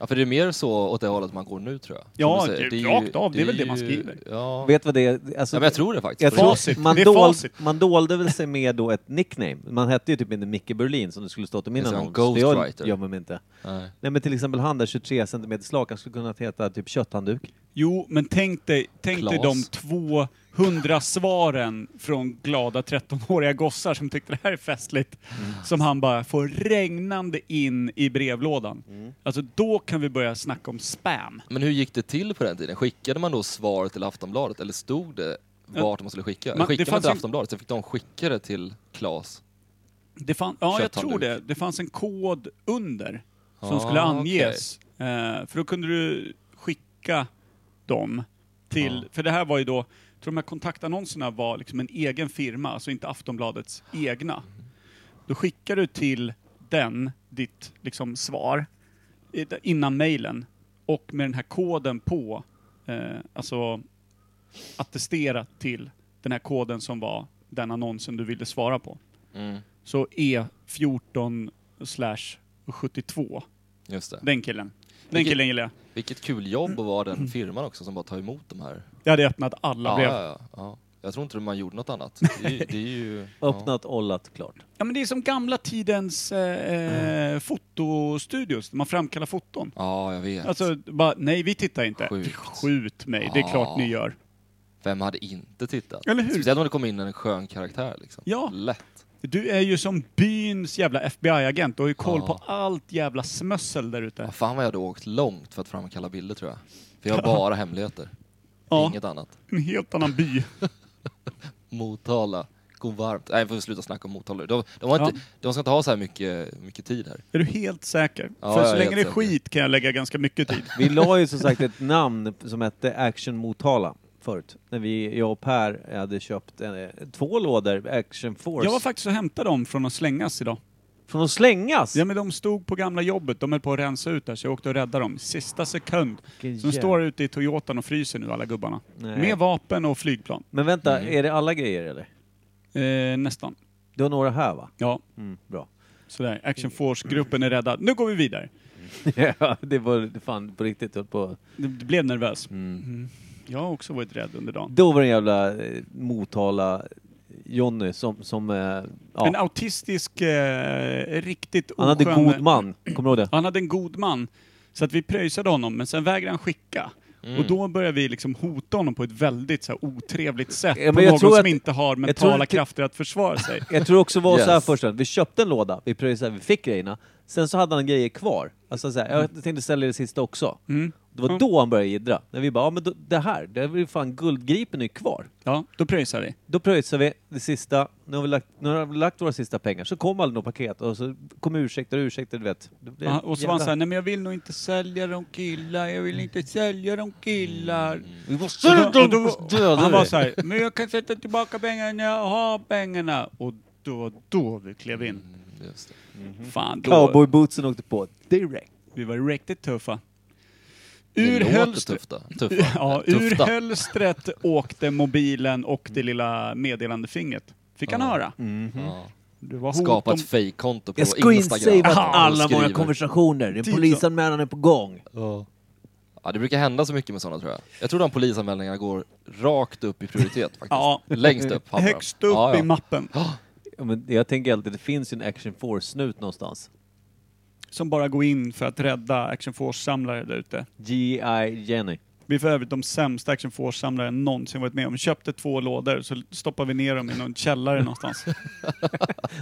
S5: Ja, för det är mer så åt det hållet man går nu tror jag. Som
S6: Ja,
S5: du säger.
S6: det-
S5: ju-
S6: rakt av, det är väl det man
S5: ju-
S6: skriver.
S5: Ja.
S4: Vet vad det är? Alltså,
S5: ja, men jag tror det faktiskt.
S4: jag
S5: På
S4: tror-
S5: riktigt.
S6: Facit.
S4: man,
S6: Det är
S4: dol,
S6: facit.
S4: man dolde väl sig med då ett nickname. Man hette ju typ inte Micke Berlin som det skulle stått i min
S5: Det är som
S4: annons.
S5: Ghostwriter.
S4: Det gömmer mig inte.
S5: Nej.
S4: Nej men till exempel han där 23 cm slak, han skulle kunnat heta typ kötthandduk.
S6: Jo, men tänk dig, tänk dig
S5: Klas.
S6: de två hundra svaren från glada 13-åriga gossar som tyckte det här är festligt.
S5: Mm.
S6: Som han bara får regnande in i brevlådan.
S5: Mm.
S6: Alltså då kan vi börja snacka om spam.
S5: Men hur gick det till på den tiden? Skickade man då svar till Aftonbladet eller stod det vart man skulle skicka?
S6: Man- det
S5: Skickade man
S6: fanns
S5: till
S6: ju-
S5: Aftonbladet så fick de skicka det till Klas.
S6: Det fan, ja, jag tror
S5: Kötthandduk.
S6: det. Det fanns en kod under som
S5: Ah,
S6: skulle anges. Eh, för då kunde du skicka dem till... För det här var ju då... Jag tror de här kontaktannonserna var liksom en egen firma, alltså inte Aftonbladets egna. Då skickar du till den ditt liksom svar i- innan mejlen och med den här koden på, eh, alltså attesterat till den här koden som var den annonsen du ville svara på. Så E14 slash 72.
S5: Just det.
S6: Den killen. Den
S5: Vilket-
S6: killen gillar jag.
S5: Vilket kul jobb att vara den firman också som bara tar emot de här.
S6: Jag hade öppnat alla
S5: Ja,
S6: brev.
S5: ja, ja, ja. Jag tror inte man gjorde något annat. Det är ju... Det är
S6: [laughs]
S5: ju ja.
S4: Öppnat, ollat, klart.
S6: Ja men det är som gamla tidens eh, fotostudios, där man framkallar foton.
S5: ja, jag vet.
S6: Alltså bara, nej vi tittar inte.
S5: Sjukt.
S6: Skjut mig, det är
S5: Ja.
S6: klart ni gör.
S5: Vem hade inte tittat?
S6: Eller hur?
S5: Speciellt om det kom in en skön karaktär liksom.
S6: Ja.
S5: Lätt.
S6: Du är ju som byns jävla FBI-agent, du har ju koll
S5: Ja.
S6: på allt jävla smössel där ute.
S5: Ja, fan vad jag hade åkt långt för att framkalla bilder tror jag. För
S6: [laughs]
S5: jag har bara hemligheter.
S6: Ja,
S5: Inget annat.
S6: en helt annan by.
S5: Motala. Gå varmt. Nej, jag får sluta snacka om Motala. De, de, har
S6: Ja.
S5: inte, de ska inte ha så här mycket, mycket tid här.
S6: Är du helt säker?
S5: Ja,
S6: För
S5: jag
S6: så
S5: är
S6: länge det är
S5: helt säker.
S6: skit kan jag lägga ganska mycket tid.
S4: Vi la ju som sagt ett namn som hette Action Motala förut. När vi, jag och Per hade köpt eh, två lådor Action Force.
S6: Jag var faktiskt och hämtade dem från att slängas idag.
S4: Från att slängas!
S6: Ja men de stod på gamla jobbet, de höll på att rensa ut där så jag åkte och räddade dem. Sista sekund.
S4: Vilken
S6: Så de
S4: jävla-
S6: står ute i Toyotan och fryser nu alla gubbarna.
S4: Nej.
S6: Med vapen och flygplan.
S4: Men vänta,
S5: Mm.
S4: är det alla grejer eller?
S6: Eh, nästan.
S4: Du har några här va?
S6: Ja,
S4: Mm, bra. [laughs]
S6: sådär. Action Force-gruppen är rädda. Nu går vi vidare.
S4: ja, det var fan på riktigt. höll På.
S6: Det det blev nervös. Mm. Jag har också varit rädd under dagen.
S4: Då var det en jävla eh, Motala Jonny som... som eh, ja.
S6: En autistisk, eh, riktigt
S4: Han hade
S6: oskön-
S4: god man, kommer du ihåg det?
S6: Han hade en god man. Så att vi pröjsade honom, men sen vägrade han skicka.
S4: Mm.
S6: Och då började vi liksom hota honom på ett väldigt så här, otrevligt sätt.
S4: Ja, men
S6: på
S4: jag
S6: någon
S4: tror
S6: som
S4: att-
S6: inte har
S4: jag tror
S6: mentala
S4: att-
S6: krafter att försvara
S4: [laughs]
S6: sig.
S4: Jag tror också det var så här
S5: Yes.
S4: först, att vi köpte en låda, vi pröjsade, vi fick grejerna. Sen så hade han grejer kvar. Alltså så här, jag tänkte sälja det sista också.
S6: Mm.
S4: Det var då han började jiddra. När vi bara, ja men då, det här, det är ju fan guldgripen är ju kvar.
S6: Ja, då pröjsar vi.
S4: Då pröjsade vi det sista, nu har vi lagt, nu har vi lagt våra sista pengar. Så kom aldrig något paket och så kom ursäkter och ursäkter, du vet. Det blev
S6: Ja, och så var han
S4: jävla-
S6: såhär, nej men jag vill nog inte sälja de killar, jag vill inte sälja de killar.
S4: Vi måste och då, [laughs]
S6: han var såhär, men jag kan sätta tillbaka pengarna när jag har pengarna. Och då, då vi klev in.
S5: Just det.
S6: Fan, då,
S4: Cowboybootsen åkte på Mm. direkt.
S6: vi var riktigt tuffa.
S5: Det
S6: Ur
S5: låter
S6: hölstret,
S5: tufft då. Tuffa.
S6: [laughs] ja, ur
S5: Tufta.
S6: hölstret åkte mobilen och det lilla meddelandefingret. Fick han höra.
S5: Mm. Ja.
S6: Det var Mm. hot
S5: Skapa
S6: om-
S5: ett fejkkonto på
S4: Jag screensavat
S5: Instagram.
S4: alla
S5: Och skriver.
S4: våra konversationer. En
S6: Typ så.
S4: polisanmälan är på gång.
S5: Ja, det brukar hända så mycket med sådana tror jag. Jag tror de polisanmälningarna går rakt upp i
S6: [laughs]
S5: prioritet faktiskt.
S6: Ja.
S5: Längst upp. hamnar de.
S6: Högst upp
S5: ja, ja.
S6: i mappen.
S4: Ja, men jag tänker alltid, det finns ju en Action Force-snut någonstans.
S6: Som bara går in för att rädda Action Force-samlare där ute.
S4: G.I. Jenny. [laughs]
S6: Vi är för övrigt de sämsta Action Force-samlare jag någonsin varit med om. Köpte två lådor, så stoppade vi ner dem i någon källare någonstans.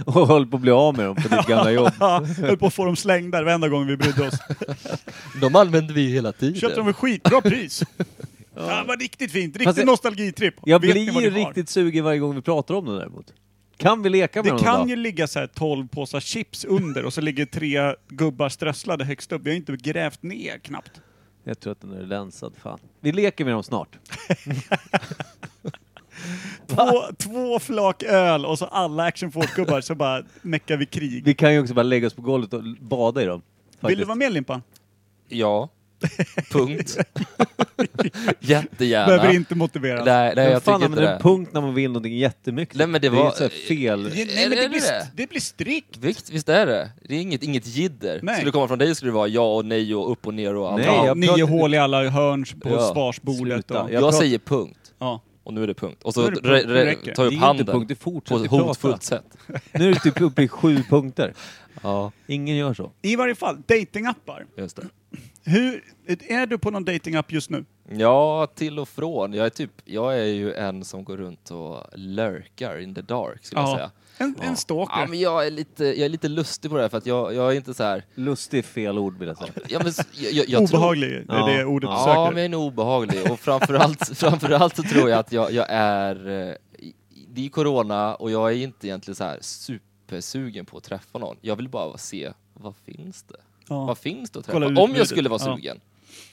S4: Och höll på att bli av med dem på ditt
S6: [laughs]
S4: gamla jobb.
S6: Ja, Höll på att få dem slängda varenda gång vi brydde oss.
S5: De använder vi hela tiden.
S6: Köpte dem för skitbra pris. Ja, det var riktigt fint. Riktig
S4: Fast jag-
S6: nostalgitripp.
S4: Jag
S6: Vet ni
S4: blir
S6: vad
S4: ju
S6: ni har?
S4: riktigt sugen varje gång vi pratar om den däremot. Kan vi leka med
S6: Det
S4: den någon
S6: kan
S4: dag?
S6: ju ligga så här 12 påsar chips under och så ligger tre gubbar strösslade högst upp. Vi har inte grävt ner knappt.
S4: Jag tror att den är länsad, fan. Vi leker med dem snart.
S6: Två, två flak öl och så alla Action Force-gubbar så bara meckar vi krig.
S4: Vi kan ju också bara lägga oss på golvet och bada i dem.
S6: Vill du
S4: faktiskt.
S6: vara med Limpan? [laughs]
S5: Ja. Punkt. Jättegärna.
S6: Behöver inte motivera.
S5: Nej, nej
S4: Vem
S5: jag
S4: fan
S5: tycker inte
S4: använder en
S5: det.
S4: punkt när man vill någonting jättemycket?
S5: Nej, men det
S4: är ju
S5: var-
S4: så här fel.
S6: Ja, Nej, men
S5: Är
S6: det
S5: det
S6: blir,
S5: det?
S6: det blir strikt.
S5: Visst, visst är det? Det är inget, inget jidder.
S6: Nej.
S5: Skulle det komma från dig skulle det vara ja och nej och upp och ner och allt.
S4: Nej,
S5: Ja.
S4: jag-
S6: Nio
S4: pratar-
S6: hål i alla hörn på
S5: Ja,
S6: svarsbordet.
S4: sluta.
S6: Och,
S4: jag
S5: jag
S4: pratar-
S5: säger punkt.
S6: ja.
S5: Och nu är det punkt. Och
S6: Nu
S5: så
S6: är det punkt,
S5: re,
S6: nu
S5: re,
S6: räcker det.
S5: tar jag upp
S4: Det är ju inte
S5: handen.
S4: punkt, det
S5: på
S4: fortsätter
S5: ett
S4: prata.
S5: hotfullt
S4: [laughs]
S5: sätt.
S4: Nu är det typ uppe i sju punkter.
S5: Ja,
S4: Ingen gör så.
S6: I varje fall, datingappar.
S5: just det.
S6: Hur, är du på någon datingapp just nu?
S5: Ja, till och från. Jag är, typ, jag är ju en som går runt och lurkar in the dark, skulle jag säga.
S6: En, en stalker.
S5: Ja, men jag är, lite, jag är lite lustig på det här, för att jag, jag är inte så här...
S4: Lustig är fel ord vill jag säga.
S5: Ja, men, s- jag, jag, jag
S6: Obehaglig, det är
S4: Ja.
S6: det ordet du
S5: Tror,
S6: söker. [laughs]
S5: ja, men jag är nog obehaglig. Och framförallt, framförallt så tror jag att jag, jag är... eh, i- Det är corona och jag är inte egentligen så här supersugen på att träffa någon. Jag vill bara se, vad finns det?
S6: Ja.
S5: Vad finns det att träffa?
S6: Kolla
S5: Om
S6: utbudet.
S5: jag skulle vara
S6: Ja.
S5: sugen,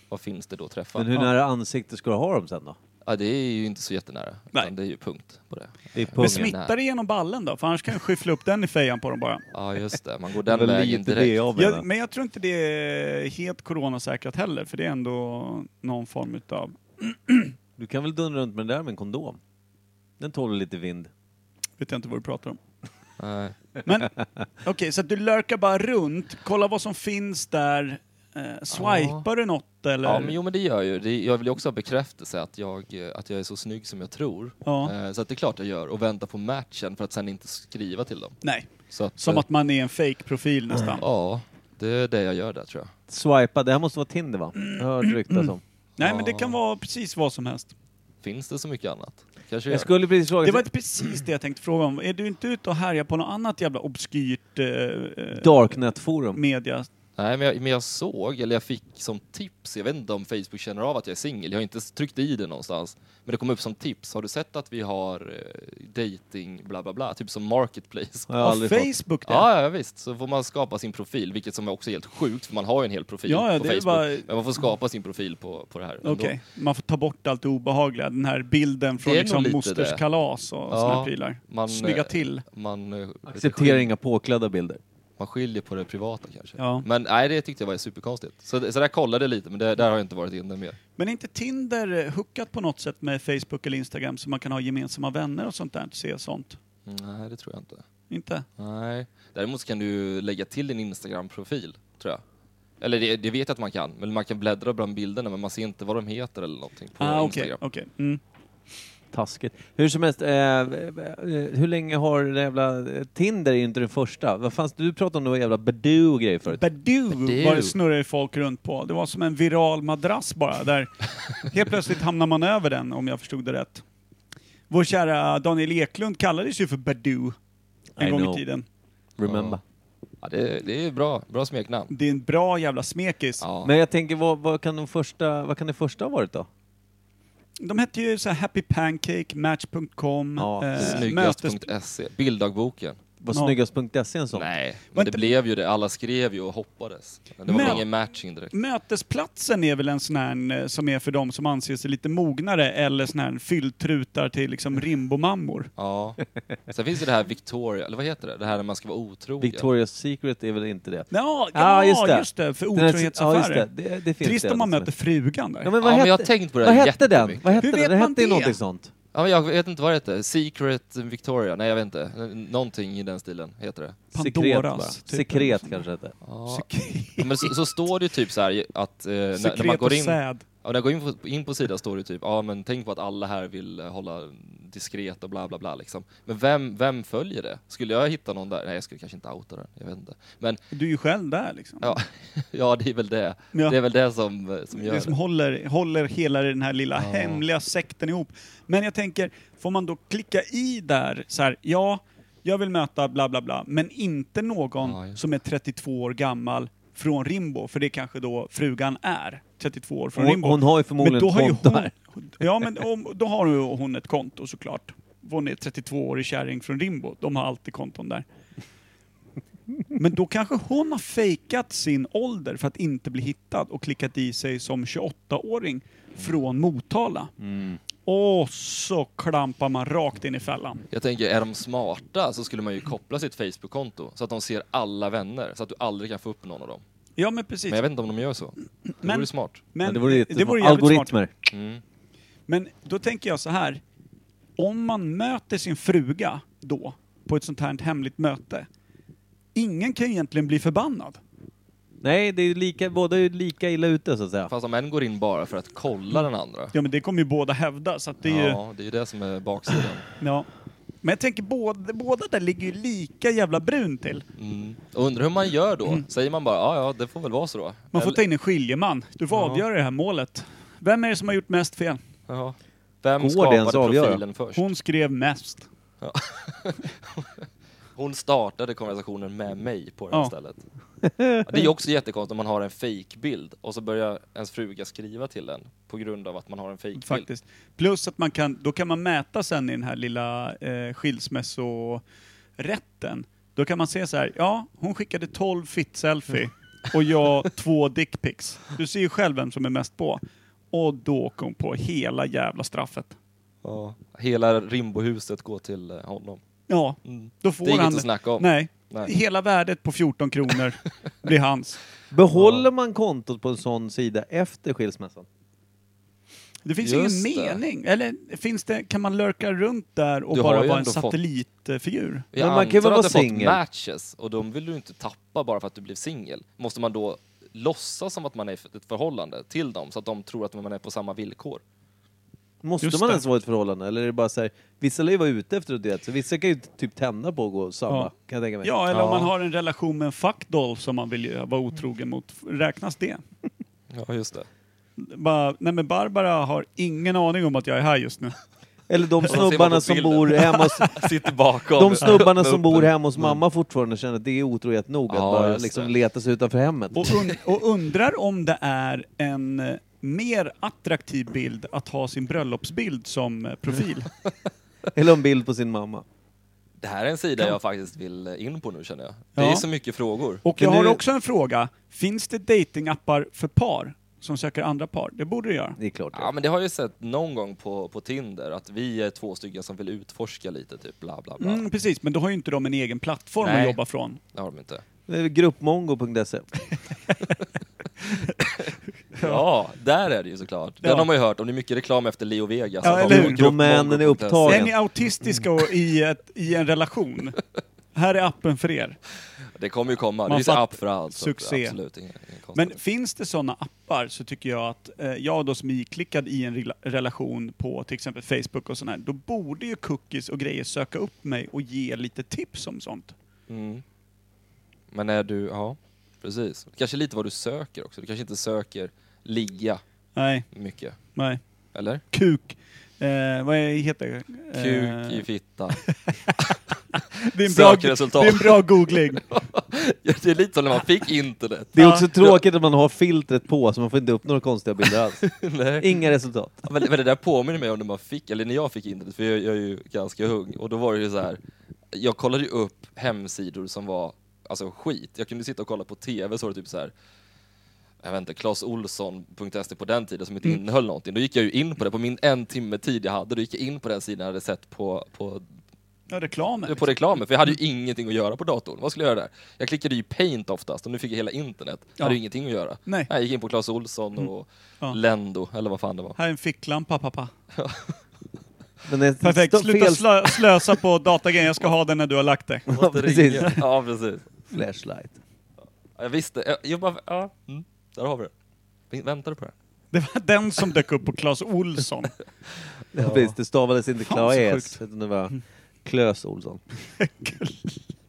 S5: vad finns det då att träffa?
S4: Men hur nära ansikte ska du ha dem sen då?
S5: Ja, det är ju inte så jättenära.
S6: Nej.
S5: Nej. Det är ju punkt på det.
S4: Det är
S6: Men
S4: pungen.
S6: smittar det genom ballen då? För annars kan jag skyffla upp den i fejan på dem bara.
S5: Ja, just det. Man går
S4: [laughs] Det är
S5: den
S4: väl
S5: vägen
S4: lite det
S5: direkt.
S4: jag menar.
S6: Jag, men jag tror inte det är helt coronasäkrat heller, för det är ändå någon form utav...
S4: Du kan väl dundra runt med den där med en kondom? Den tål lite vind.
S6: Vet jag inte vad du pratar om.
S5: Nej.
S6: Men okej, så att du lurkar bara runt, kolla vad som finns där. Eh, swipar du något eller?
S5: Ja, men jo, men det gör ju. Det, jag vill ju också ha bekräftelse att jag, eh, att jag är så snygg som jag tror.
S6: Ja.
S5: Eh, Så att det är klart jag gör. Och vänta på matchen för att sen inte skriva till dem.
S6: Nej,
S5: Så att,
S6: som
S5: eh,
S6: att man är en fake-profil nästan.
S5: Ja, det är det jag gör där tror jag.
S4: Swipa, det här måste vara Tinder va? Jag har hört
S5: [clears throat]
S4: ryktas om.
S6: Nej, men det kan vara precis vad som helst.
S5: Finns det så mycket annat? Kanske gör.
S4: Jag skulle precis fråga...
S6: Det var inte precis det jag tänkte fråga om. Är du inte ute och härjar på något annat jävla obskyrt eh, eh,
S4: Darknet-forum.
S6: media?
S5: Nej, men jag, men jag såg, eller jag fick som tips, jag vet inte om Facebook känner av att jag är singel, jag har inte tryckt i det någonstans, men det kom upp som tips. Har du sett att vi har eh, dating bla bla bla, typ som Marketplace?
S4: Har jag
S6: Ja,
S4: aldrig fått.
S6: Facebook
S5: [laughs]
S6: det?
S5: Ja, ja, visst. Så får man skapa sin profil, vilket som är också helt sjukt, för man har ju en hel profil
S6: Ja, ja,
S5: på
S6: det är
S5: Facebook.
S6: bara-
S5: Men man får skapa sin profil på, på det här. ändå.
S6: Okej, man får ta bort allt det obehagliga. Den här bilden från
S5: Det är
S6: liksom
S5: nog lite
S6: mosters
S5: det.
S6: kalas och
S5: Ja,
S6: såna här prylar.
S5: man,
S6: Snygga
S5: eh,
S6: till.
S5: Man, eh,
S4: Acceptera inga påklädda bilder.
S5: Man skiljer på det privata kanske.
S6: Ja.
S5: Men nej, det tyckte jag var superkonstigt. Så, så där kollade jag lite, men det, där har jag inte varit inne mer.
S6: Men är inte Tinder eh, hookat på något sätt med Facebook eller Instagram så man kan ha gemensamma vänner och sånt där? Se sånt?
S5: Mm, Nej, det tror jag inte.
S6: Inte?
S5: Nej. Däremot så kan du lägga till din Instagram-profil, tror jag. Eller det, det vet jag att man kan, men man kan bläddra bland bilderna men man ser inte vad de heter eller någonting på
S6: Ah, okej.
S5: Instagram.
S6: okej. Mm.
S4: Taskigt. Hur som helst, eh, eh, hur länge har det jävla... eh, Tinder är ju inte den första. Vad fanns du pratade om någon jävla Badoo och grejer förut.
S6: Badoo var det snurrade folk runt på. Det var som en viral madrass
S5: [laughs]
S6: bara, där helt plötsligt hamnar man över den om jag förstod det rätt. Vår kära Daniel Eklund kallades ju för Badoo en
S4: I
S6: gång
S4: know.
S6: i tiden.
S4: Remember.
S5: Ja, det, det är bra, bra smeknamn.
S6: Det är en bra jävla smekis.
S5: Ja.
S4: Men jag tänker, vad, vad, kan de första, vad kan det första ha varit då?
S6: De hette ju så här Happy Pancake, Match.com,
S4: Ja,
S6: eh, mötes...
S5: Snyggast.se, bilddagboken.
S4: Var
S6: Ja.
S4: snyggast.se E en sån?
S5: E. Nej, men
S6: Var
S5: det
S6: inte-
S5: blev ju det. Alla skrev ju och hoppades. Men Det var
S6: Men-
S5: väl ingen matching direkt.
S6: Mötesplatsen är väl en sån här eh, som är för de som anser sig lite mognare eller sån här fylltrutar till liksom rimbomammor.
S5: Ja. Sen finns ju det här Victoria, eller vad heter det? Det här när man ska vara otrogen.
S4: Victoria's Secret är väl inte det?
S6: Ja, ja
S4: Ja,
S6: just,
S4: just
S6: det.
S4: det.
S6: för
S4: Den här-
S6: otrohetsaffärer.
S4: Ja, just det. Det, det finns
S6: Trist
S4: det. alltså.
S6: om man möter frugan där.
S4: Ja, men
S5: Ja,
S4: vad
S5: men
S4: hette,
S5: jag har tänkt på det
S4: Vad
S5: här
S4: hette den?
S5: jättemycket.
S4: Vad hette
S6: Hur vet
S4: den? Den
S6: man
S4: hette ju
S6: det?
S4: någonting sånt.
S5: Ja, men jag vet inte vad det heter. Secret Victoria? Nej, jag vet inte. N- Någonting i den stilen heter det.
S4: Sekret bara.
S6: Pandoras, typ.
S4: Sekret kanske det hette.
S5: Ja.
S6: Sekret-
S5: Ja, Men så, så står det ju typ så här att eh, när, när man
S6: Sekret
S5: går
S6: och
S5: in, ja,
S6: säd.
S5: när jag går in på, in på sidan står det typ ja men tänk på att alla här vill eh, hålla diskret och bla bla bla liksom. Men vem, vem följer det? Skulle jag hitta någon där? Nej jag skulle kanske inte outa den, jag vet inte. Men
S6: Du är ju själv där liksom.
S5: ja, [laughs] ja det är väl det.
S6: Ja.
S5: Det är väl det som, eh, som
S6: Det
S5: gör
S6: är
S5: det.
S6: som håller, håller hela den här lilla hemliga sekten ihop. Men jag tänker, får man då klicka i där så här, ja, jag vill möta bla bla bla, men inte någon
S5: Ja, just
S6: som är 32 år gammal från Rimbo, för det kanske då frugan är, 32 år från
S4: Hon-
S6: Rimbo.
S4: hon har ju förmodligen
S6: Men då har ju
S4: konto
S6: hon-
S4: här.
S6: Ja, men om, då har ju hon ett konto såklart. Hon är 32-årig kärring från Rimbo, de har alltid konton där. Men då kanske hon har fejkat sin ålder för att inte bli hittad och klickat i sig som 28-åring från Motala.
S4: Mm.
S6: Och så klampar man rakt in i fällan.
S5: Jag tänker, är de smarta så skulle man ju koppla sitt Facebook-konto så att de ser alla vänner, så att du aldrig kan få upp någon av dem.
S6: Ja men precis.
S5: Men jag vet inte om de gör så. Det
S6: Men-
S5: vore smart.
S6: Men
S4: ja, det vore, ju
S6: det vore jävligt smart.
S4: algoritmer.
S6: Men då tänker jag så här. Om man möter sin fruga då, på ett sånt här hemligt möte. Ingen kan ju egentligen bli förbannad.
S4: Nej, det är ju lika, båda är ju lika illa ute så att säga.
S5: Fast om en går in bara för att kolla den andra.
S6: Ja men Mm. det kommer ju båda hävda så att det är ju...
S5: Ja, det är ju det som är baksidan.
S6: Ja. Men jag tänker båda, båda där ligger ju lika jävla brun till.
S5: Mm. Och undrar hur man gör då? Säger man bara ja, ja, det får väl vara så då?
S6: Mm. Man får ta in en skiljeman. Du får avgöra det här målet. Vem är det som har gjort mest fel?
S5: Jaha. Vem
S4: Går det
S5: skapade
S4: ens att avgöra?
S5: profilen först?
S6: Hon skrev mest.
S5: Hon startade konversationen med mig på det här
S6: Ja.
S5: stället. Ja, Det är ju också jättekonstigt om man har en fake-bild och så börjar ens fruga skriva till en på grund av att man har en fake-bild.
S6: Faktiskt. Plus att man kan, då kan man mäta sen i den här lilla eh, skilsmässorätten. Då kan man se så här, ja hon skickade 12 fitt-selfie
S5: [laughs]
S6: och jag två dickpics. Du ser ju själv vem som är mest på. Och då åker hon på hela jävla straffet.
S5: Ja. Hela Rimbohuset går till eh, honom.
S6: Ja,
S5: Mm.
S6: då får
S5: Det är
S6: han...
S5: inget att snacka om.
S6: Nej.
S5: Nej.
S6: Hela värdet på
S5: [laughs]
S6: 14 kronor blir hans.
S4: Behåller man kontot på en sån sida efter skilsmässan?
S6: Det finns
S5: Just
S6: ingen
S5: det.
S6: mening. Eller finns det, kan man lurka runt där och
S5: Du har
S6: bara
S5: ju
S6: vara en
S5: ändå fått-
S6: satellitfigur?
S5: Jag
S4: Men man kan ju
S5: antar
S4: väl
S5: att du
S4: vara
S5: har fått
S4: singel.
S5: matches och de vill du inte tappa bara för att du blev singel. Måste man då låtsas som att man är i ett förhållande till dem så att de tror att man är på samma villkor?
S4: Måste
S6: Just
S4: man
S6: det.
S4: ens vara i ett förhållande? Eller är det bara så här, vissa lär ju vara ute efter att det, så vissa kan ju typ tända på att gå samma,
S6: Ja.
S4: kan jag tänka mig.
S6: Ja, eller om man har en relation med en fuckdoll som man vill ju vara otrogen mot. Räknas det?
S5: Ja, just det.
S6: Bara, nej men Barbara har ingen aning om att jag är här just nu.
S4: Eller de
S5: ser man på
S4: snubbarna som
S5: bilden.
S4: bor hemma hos,
S5: [laughs] Sitter bakom.
S4: de snubbarna som
S5: Uppe.
S4: bor hemma
S6: Mm.
S4: hos mamma fortfarande känner att det är otrohet nog att
S5: Ja,
S4: bara
S5: just
S4: liksom
S5: det.
S4: leta sig utanför hemmet.
S6: Och, und och undrar om det är en eh, mer attraktiv bild att ha sin bröllopsbild som eh, profil.
S4: [laughs] Eller en bild på sin mamma.
S5: Det här är en sida jag faktiskt vill eh, in på nu känner jag. Det
S6: Ja.
S5: är så mycket frågor.
S6: Och
S4: Men
S6: jag har
S4: nu-
S6: också en fråga. Finns det datingappar för par som söker andra par? Det borde det göra.
S4: Det är klart
S5: Ja
S4: det.
S5: men det har jag ju sett någon gång på, på Tinder att vi är två stycken som vill utforska lite typ bla bla bla.
S6: Mm, precis, men då har ju inte de en egen plattform
S5: Nej.
S6: att jobba från.
S5: Det har de inte.
S4: Det
S6: [laughs]
S4: är Gruppmongo.se.
S5: Ja, där är det ju såklart. Den
S6: Ja.
S5: har man ju hört om. Det är mycket reklam efter Leo Vegas. Alltså,
S6: Ja,
S5: Att de
S6: eller
S5: har
S6: hur?
S5: en grupp
S4: Domänen är
S5: mongo.se.
S4: upptagen.
S6: Är ni autistiska och i, ett, i en relation? Här är appen för er.
S5: Det kommer ju komma. Det
S6: Man
S5: finns en
S6: fatt-
S5: app för allt. så
S6: Succé.
S5: Absolut, inga, inga konstigheter.
S6: Men finns det sådana appar så tycker jag att eh, jag då som är iklickad i en rela- relation på till exempel Facebook och sån här, då borde ju cookies och grejer söka upp mig och ge lite tips om sånt.
S5: Mm. Men är du, ja precis. Kanske lite vad du söker också. Du kanske inte söker ligga
S6: Nej,
S5: mycket.
S6: nej.
S5: Eller?
S6: Kuk. Eh, vad är- heter det? Eh,
S5: Kuk i fitta.
S6: det, är en bra, det
S5: sökresultat.
S6: är en
S5: [laughs]
S6: bra googling.
S5: Ja, [laughs] det är lite som när man fick internet.
S4: Det är också tråkigt att man har filtret på så man får inte upp några konstiga bilder
S6: [laughs]
S4: alls.
S5: Nej.
S4: Inga resultat.
S5: Ja, Men, men det där påminner mig om när man fick, eller när jag fick internet, för jag, jag är ju ganska ung, och då var det ju så här. jag kollade ju upp hemsidor som var alltså skit. Jag kunde sitta och kolla på TV så var det typ så här. jag vet inte, clasohlsson.se på den tiden som inte
S6: Mm.
S5: innehöll någonting. Då gick jag ju in på det, på min en timme tid jag hade, då gick jag in på den sidan jag hade sett på, på,
S6: Ja, reklamen.
S5: på reklamen, för jag hade ju ingenting att göra på datorn. Vad skulle jag göra där? Jag klickade ju i paint oftast, och nu fick jag hela internet. Jag hade ju ingenting att göra.
S6: Nej. Mm.
S5: Jag gick in på Clas Ohlson och
S6: Ja.
S5: Lendo, eller vad fan det var.
S6: Här är en ficklampa pappa.
S4: Men det är
S6: Perfekt,
S4: st-
S6: sluta
S4: fel
S6: slö slösa på datagrejen. Jag ska ha den när du har lagt dig.
S4: [laughs] Ja, precis.
S5: Ringa. Ja, precis.
S4: Flashlight.
S5: Ja, Jag visste. Jag, jag bara, ja. Mm, där har vi det. Vi väntar på det.
S6: Det var den som dök upp på Clas Olsson.
S4: Ja. Precis, det stavades inte
S6: Fan, så
S4: Klaes,
S6: sjukt. Mm.
S4: utan det var Klös Olsson. [laughs]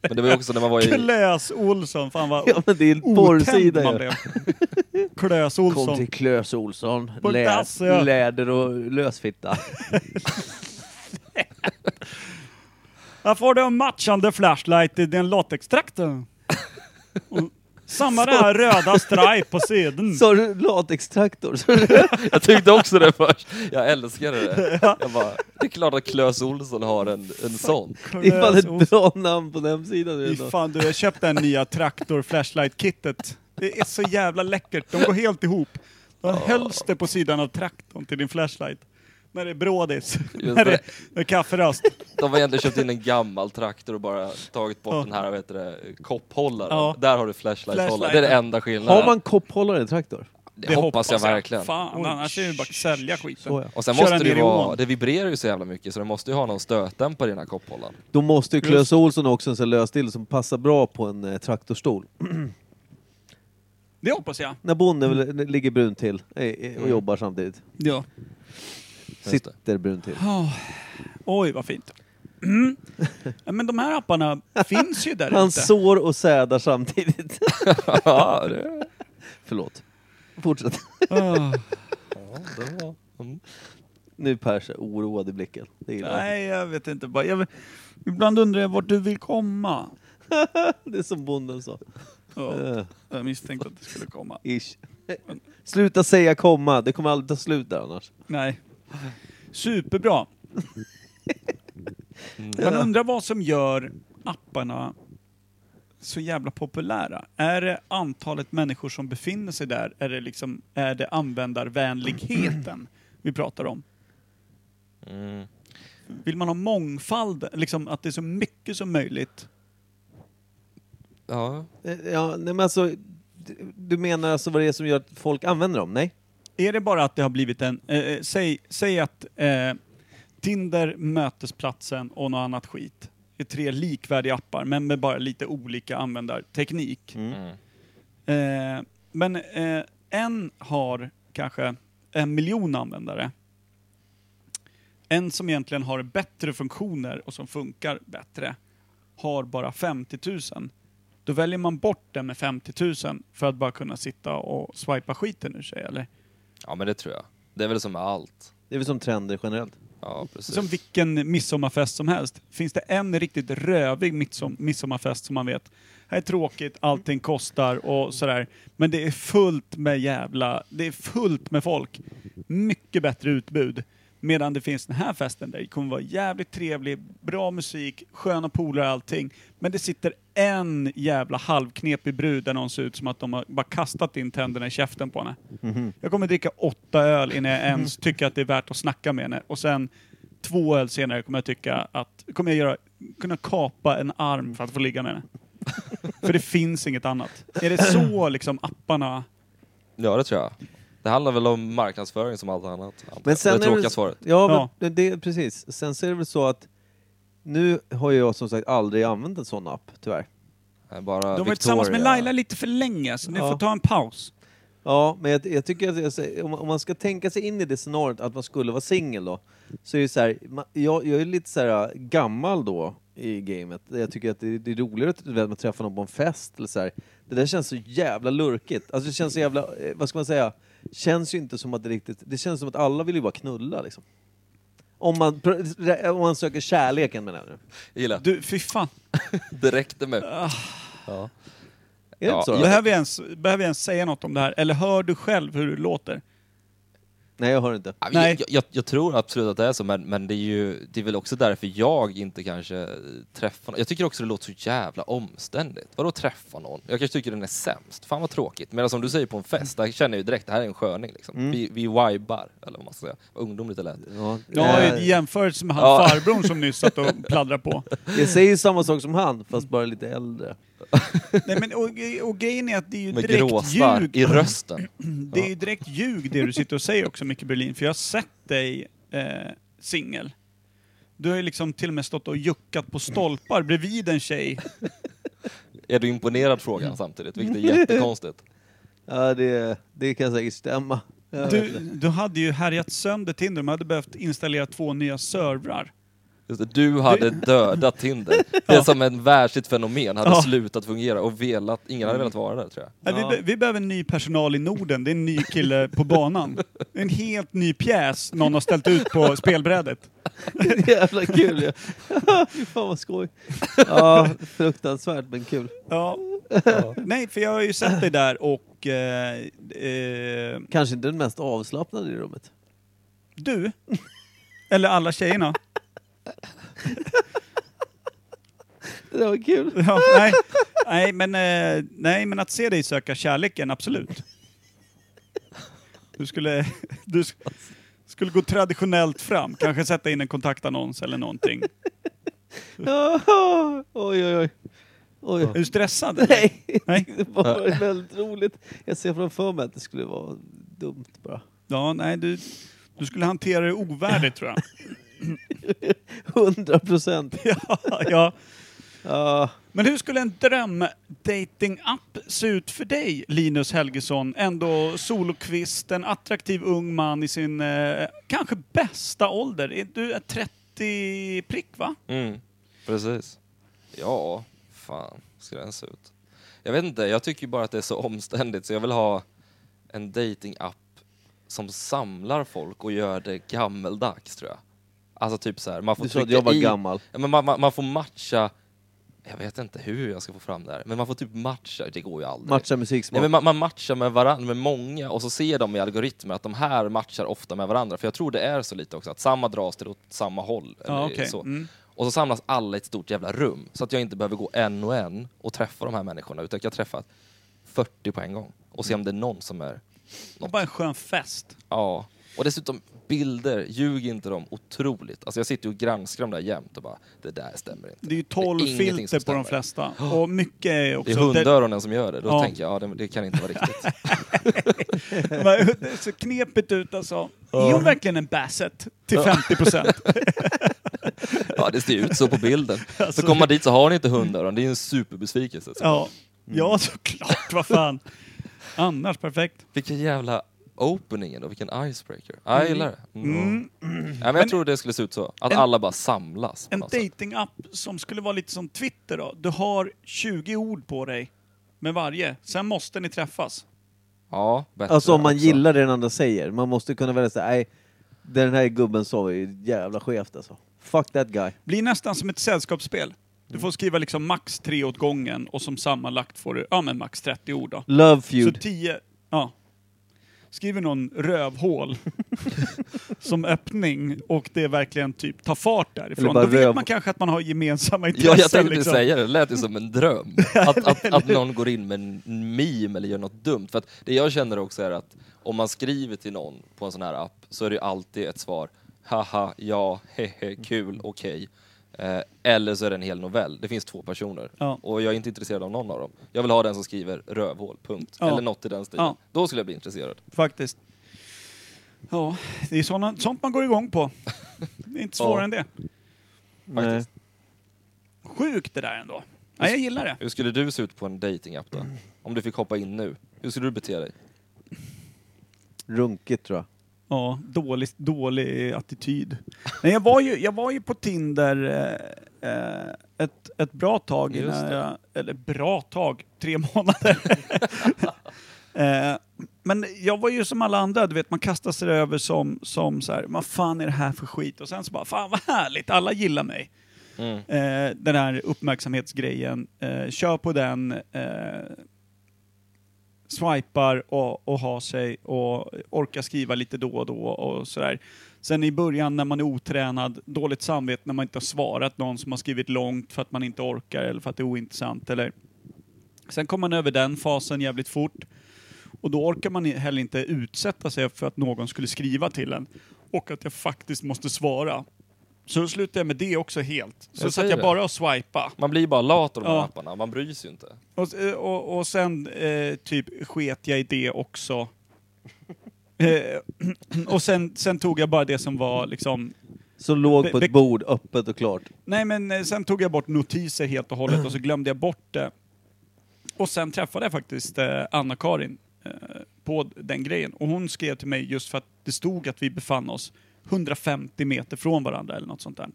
S5: Men det var ju också när man var
S6: [laughs]
S5: i...
S6: Klös Olsson, fan vad
S4: Ja men det är en
S6: otänd
S4: porrsida
S6: man
S4: ju.
S6: [laughs] blev. Klös
S4: Kom
S6: Olsson.
S4: till Klös Olsson,
S6: På
S4: Lä
S6: dass, ja.
S4: läder och lösfitta. [laughs]
S6: Här får du en matchande flashlight i din latextraktor. Och Samma det här röda stripe på sidan.
S4: Sa du latextraktor? Sa du-
S5: Jag tyckte också det först. Jag älskade det. Jag bara, det är klart att Klös Olsson har en, en sån.
S4: Det är fan
S6: Klös
S4: ett
S6: Olsson.
S4: bra namn på den sidan.
S6: Fy
S4: ändå.
S6: fan du, jag köpte det här nya traktor flashlight kittet. Det är så jävla läckert, de går helt ihop. Du har hölster på sidan av traktorn till din flashlight. När det är brådis, [laughs] när det
S5: det.
S6: är- är kafferast.
S5: De har egentligen köpt in en gammal traktor och bara tagit bort
S6: Ja.
S5: den här, vad heter det, kopphållaren.
S6: Ja.
S5: Där har du flashlight-hållaren. Det är det enda skillnaden.
S4: Har man kopphållare i traktor?
S5: det, hoppas jag, verkligen.
S6: Fan, annars är det ju bara att sälja skiten.
S4: Så ja.
S5: Och sen
S6: Köra
S5: måste det
S6: ner
S5: ju
S6: i
S5: vara,
S6: ån.
S5: det vibrerar ju så jävla mycket så du måste ju ha någon stötdämpare i den här kopphållaren.
S4: Då måste ju
S6: Just.
S4: Klös Olsson också en sån här lösdel som passar bra på en eh, traktorstol.
S6: Det hoppas jag.
S4: När bonden väl- ligger brun till eh, eh, och jobbar samtidigt.
S6: Ja.
S5: Just det.
S4: Sitter brun till.
S6: Oj, vad fint. Mm. Ja, Men de här
S4: [laughs]
S6: apparna finns ju där
S4: Han
S6: ute.
S4: sår och sädar samtidigt. [laughs]
S5: ja, det...
S4: Förlåt. Fortsätt.
S6: Ah.
S5: det var... Mm.
S4: Nu Pers är oroad i blicken. Det gillar jag.
S6: Nej, jag vet inte. Bara, jag, ibland undrar jag vart du vill komma.
S4: Det är som bonden sa.
S6: Ja,
S4: Eh,
S6: jag misstänkte att det skulle komma.
S4: ish. Sluta säga komma, det kommer aldrig ta slut där annars.
S6: Nej. Superbra. Man undrar vad som gör apparna så jävla populära. Är det antalet människor som befinner sig där? Är det, liksom, är det användarvänligheten vi pratar om?
S5: Mm.
S6: Vill man ha mångfald? Liksom att det är så mycket som möjligt?
S5: Ja.
S4: Eh, Ja, nej men alltså, du- du menar alltså vad det är som gör att folk använder dem? Nej?
S6: Är det bara att det har blivit en... Eh, eh, säg, säg att eh, Tinder, Mötesplatsen och något annat skit är tre likvärdiga appar men med bara lite olika användarteknik.
S5: Mm.
S6: Eh, men eh, en har kanske en miljon användare. En som egentligen har bättre funktioner och som funkar bättre har bara 50 000. Då väljer man bort den med 50 000 för att bara kunna sitta och swipa skiten ur sig eller?
S5: ja, men det tror jag. Det är väl som med allt.
S4: Det är väl som trender generellt.
S5: Ja, precis.
S6: Som vilken midsommarfest som helst. Finns det en riktigt rövig midsom- midsommarfest som man vet, här är tråkigt, allting kostar och sådär. Men det är fullt med jävla, det är fullt med folk. Mycket bättre utbud. Medan det finns den här festen där det kommer vara jävligt trevlig, bra musik, sköna polare och allting. Men det sitter en jävla halvknepig brud där någon ser ut som att de har bara kastat in tänderna i käften på henne. Jag kommer dricka åtta öl innan jag ens tycker att det är värt att snacka med henne. Och sen två öl senare kommer jag tycka att, kommer jag göra, kunna kapa en arm för att få ligga med henne. för det finns inget annat. Är det så liksom apparna...
S5: Ja, det tror jag. Det handlar väl om marknadsföring som allt annat.
S4: Men sen
S5: det
S4: är
S5: tråkiga
S4: väl-
S5: svaret.
S4: Ja, men
S6: Ja.
S4: det- det, precis. Sen så är det väl så att nu har jag som sagt aldrig använt en sån app, tyvärr.
S5: Nej, Bara
S6: De har
S5: Victoria.
S6: varit tillsammans med Laila lite för länge, så ni
S4: Ja.
S6: får ta en paus.
S4: Ja, men jag, jag tycker att jag, säger- om, man- om man ska tänka sig in i det scenariot att man skulle vara singel då, så är det så här, man, jag, jag är lite så här äh, gammal då i gamet. Jag tycker att det, det är roligare att du vet, man träffar någon på en fest eller så här. Det där känns så jävla lurkigt. Alltså det känns så jävla, eh, vad ska man säga, känns ju inte som att det riktigt, det känns som att alla vill ju bara knulla liksom. Om man, pr- om man söker kärleken menar jag nu.
S5: Jag gillar.
S6: Du, fy fan.
S5: Det räckte med.
S6: Ah.
S5: Ja.
S4: Är det
S5: Ja,
S4: inte så? då?
S6: Behöver jag, ens, behöver jag ens säga något om det här? Eller hör du själv hur du låter?
S4: Nej, jag hör inte.
S5: Ja, men
S6: Nej.
S5: Jag, jag, jag tror absolut att det är så, men, men det, är ju, det är väl också därför jag inte kanske träffar någon. Jag tycker också det låter så jävla omständigt. Vadå träffa någon? Jag kanske tycker den är sämst. Fan vad tråkigt. Medan som du säger på en fest, där känner jag ju direkt det här är en sköning. Liksom.
S6: Mm.
S5: Vi, vi vibar, eller vad man ska säga. Ungdomligt lite lätt.
S4: Ja,
S6: Ja,
S4: eh,
S6: i jämförelse med han
S5: Ja.
S6: farbrorn som nyss satt och pladdrade på.
S4: jag säger ju samma sak som han, fast bara lite äldre.
S6: Nej, men, och, och grejen är att det är ju
S5: Med
S6: direkt
S5: gråstarr
S6: ljug
S5: i rösten.
S6: Det är ju direkt ljug det du sitter och säger också, Micke Berlin, för jag har sett dig eh, singel. Du har ju liksom till och med stått och juckat på stolpar bredvid en tjej.
S5: Är du imponerad
S4: Mm.
S5: frågan samtidigt, vilket är jättekonstigt.
S4: Ja, det, det kan säkert stämma. Jag vet
S6: Du,
S4: inte. [laughs]
S6: du hade ju härjat sönder Tinder, de hade behövt installera två nya servrar.
S5: Just det, Du hade dödat
S4: [laughs]
S5: Tinder. Det är som en världsligt fenomen hade
S6: Ja.
S5: slutat fungera och velat, ingen
S4: Mm.
S5: hade velat vara där tror jag.
S6: Nej,
S4: Ja.
S6: Vi, be- vi behöver ny personal i Norden, det är en ny kille på banan. Det är En helt ny pjäs någon har ställt ut på spelbrädet.
S4: Jävla kul ju. [laughs] Fy Fan vad skoj. Ja, fruktansvärt men kul.
S6: Ja. Nej, för jag har ju sett dig där och... Eh, eh,
S4: Kanske inte den mest avslappnade i rummet.
S6: Du? Eller alla tjejerna?
S4: Det där var kul.
S6: [laughs]
S4: [laughs]
S6: Ja, nej. Nej, men, eh, nej, men att se dig söka kärleken, absolut. Du skulle, [laughs] du sk- skulle gå traditionellt fram, kanske sätta in en kontaktannons eller någonting.
S4: Ja, Oj, oj, oj.
S6: Är
S4: oj.
S6: du stressad? eller?
S4: Nej,
S6: nej.
S4: det var väldigt roligt. Jag ser framför mig att det skulle vara dumt bara.
S6: Ja, nej du, du skulle hantera det ovärdigt tror jag.
S4: 100 procent.
S6: [laughs] Ja, ja.
S4: Ja,
S6: Men hur skulle en drömdating-app se ut för dig, Linus Helgesson? Ändå solokvist, en attraktiv ung man i sin eh, kanske bästa ålder. Är Du är 30 90 prick va?
S5: Mm, precis. Ja, fan ska den se ut? Jag vet inte, jag tycker ju bara att det är så omständigt så jag vill ha en dating-app som samlar folk och gör det gammeldags tror jag. Alltså typ så här, man får
S4: Du sa att
S5: trycka
S4: jag var
S5: i-
S4: gammal.
S5: Ja, men man, man, man får matcha, jag vet inte hur jag ska få fram det här, men man får typ matcha, det går ju aldrig.
S4: Matcha
S5: Nej,
S4: musiksmak.
S5: men man, man matchar med varandra, med många, och så ser de i algoritmer att de här matchar ofta med varandra. För jag tror det är så lite också, att samma dras till åt samma håll. Eller
S6: Ja, okej.
S5: så.
S6: Mm.
S5: Och så samlas alla i ett stort jävla rum, så att jag inte behöver gå en och en och träffa de här människorna, utan jag kan träffa 40 på en gång och se om det är någon som är...
S6: Och bara en skön fest.
S5: Ja. Och dessutom bilder, ljug inte dem otroligt. Alltså jag sitter ju och granskar dem där jämt och bara, det där stämmer inte.
S6: Det är ju 12
S5: Det är ingenting som
S6: filter på de
S5: stämmer. [gasps]
S6: flesta. Och mycket är
S5: Det är
S6: också... [laughs]
S5: hundöronen som gör det, då
S6: Ja.
S5: tänker jag, ja, det, det kan inte vara riktigt.
S6: det, det är så knepigt ut alltså. Är hon verkligen en Basset till
S5: [laughs]
S6: 50 procent?
S5: Ja, det ser ut så på bilden. Så kommer man dit så har ni inte hundöron, det är en superbesvikelse. Så.
S6: Ja.
S5: Mm.
S6: ja, såklart. Vad fan. Annars perfekt.
S5: Vilken jävla opening ändå, vilken icebreaker. Ja, jag gillar det. Mm. Ja, men jag tror det skulle se ut så, att
S6: en-
S5: alla bara samlas. Alltså. på
S6: En
S5: något sätt.
S6: datingapp som skulle vara lite som Twitter då. Du har 20 ord på dig med varje. Sen måste ni träffas.
S5: Ja, bättre
S4: Alltså om man
S5: också.
S4: gillar det den andra säger. Man måste kunna välja såhär, nej, det den här gubben sa var ju jävla skevt alltså. Fuck that guy.
S6: Blir nästan som ett sällskapsspel. Du får skriva liksom max tre åt gången och som sammanlagt får du, ja men max 30 ord då.
S4: Love
S6: Så
S5: typ
S4: feud.
S6: tio, ja. Skriver någon
S5: [laughs]
S6: rövhål som öppning och det är verkligen typ tar fart därifrån.
S4: Eller
S6: Då
S4: bara
S6: vet
S4: röv-
S6: man kanske att man har gemensamma
S5: Ja,
S6: intressen.
S5: jag tänkte
S6: liksom.
S5: säga det, det lät ju som en
S6: [laughs]
S5: dröm. Att, att, att någon går in med en meme eller gör något dumt. För att det jag känner också är att om man skriver till någon på en sån här app så är det ju alltid ett svar, haha, ja, hehe, kul, okej. Eh, eller så är det en hel novell, det finns två personer.
S6: Ja.
S5: Och jag är inte intresserad av någon av dem. Jag vill ha den som skriver rövhål, punkt.
S6: Ja.
S5: Eller något i den stilen.
S6: Ja.
S5: Då skulle jag bli intresserad.
S6: Faktiskt. Ja, det är såna, sånt man går igång på. Det är inte svårare
S5: Ja.
S6: än det.
S4: Nej.
S6: Sjukt det där ändå. Ja, jag gillar det.
S5: Hur skulle du se ut på en datingapp då? Om du fick hoppa in nu, hur skulle du bete dig?
S4: Runkigt tror jag.
S6: Ja, dålig, dålig attityd. Nej, jag, var ju, jag var ju på Tinder eh, eh, ett, ett bra tag
S5: Just
S6: innan
S5: det.
S6: jag, Eller bra tag, tre [laughs] månader. eh, men jag var ju som alla andra, du vet man kastar sig över som, som så här, vad fan är det här för skit? Och sen så bara, fan vad härligt, alla gillar mig.
S5: Mm.
S6: Eh, den här uppmärksamhetsgrejen, eh, kör på den, eh, swipar och, och har sig och orkar skriva lite då och då och sådär. Sen i början när man är otränad, dåligt samvete när man inte har svarat någon som har skrivit långt för att man inte orkar eller för att det är ointressant eller... Sen kommer man över den fasen jävligt fort och då orkar man i- heller inte utsätta sig för att någon skulle skriva till en och att jag faktiskt måste svara. Så då slutade jag med det också helt. Så
S5: Jag
S6: satt
S5: säger
S6: jag
S5: det.
S6: bara och swipa.
S5: Man blir bara lat av de här
S6: Ja.
S5: apparna, man bryr sig ju inte.
S6: Och, och, och sen eh, typ sket jag i det också. Eh, [clears throat] och sen, sen tog jag bara det som var liksom...
S4: Som låg
S6: Be-
S4: på
S6: be-
S4: ett bord, öppet och klart.
S6: Nej men eh, sen tog jag bort notiser helt och hållet och så glömde jag bort det. Och sen träffade jag faktiskt eh, Anna-Karin eh, på den grejen. Och hon skrev till mig just för att det stod att vi befann oss 150 meter från varandra eller något sånt där.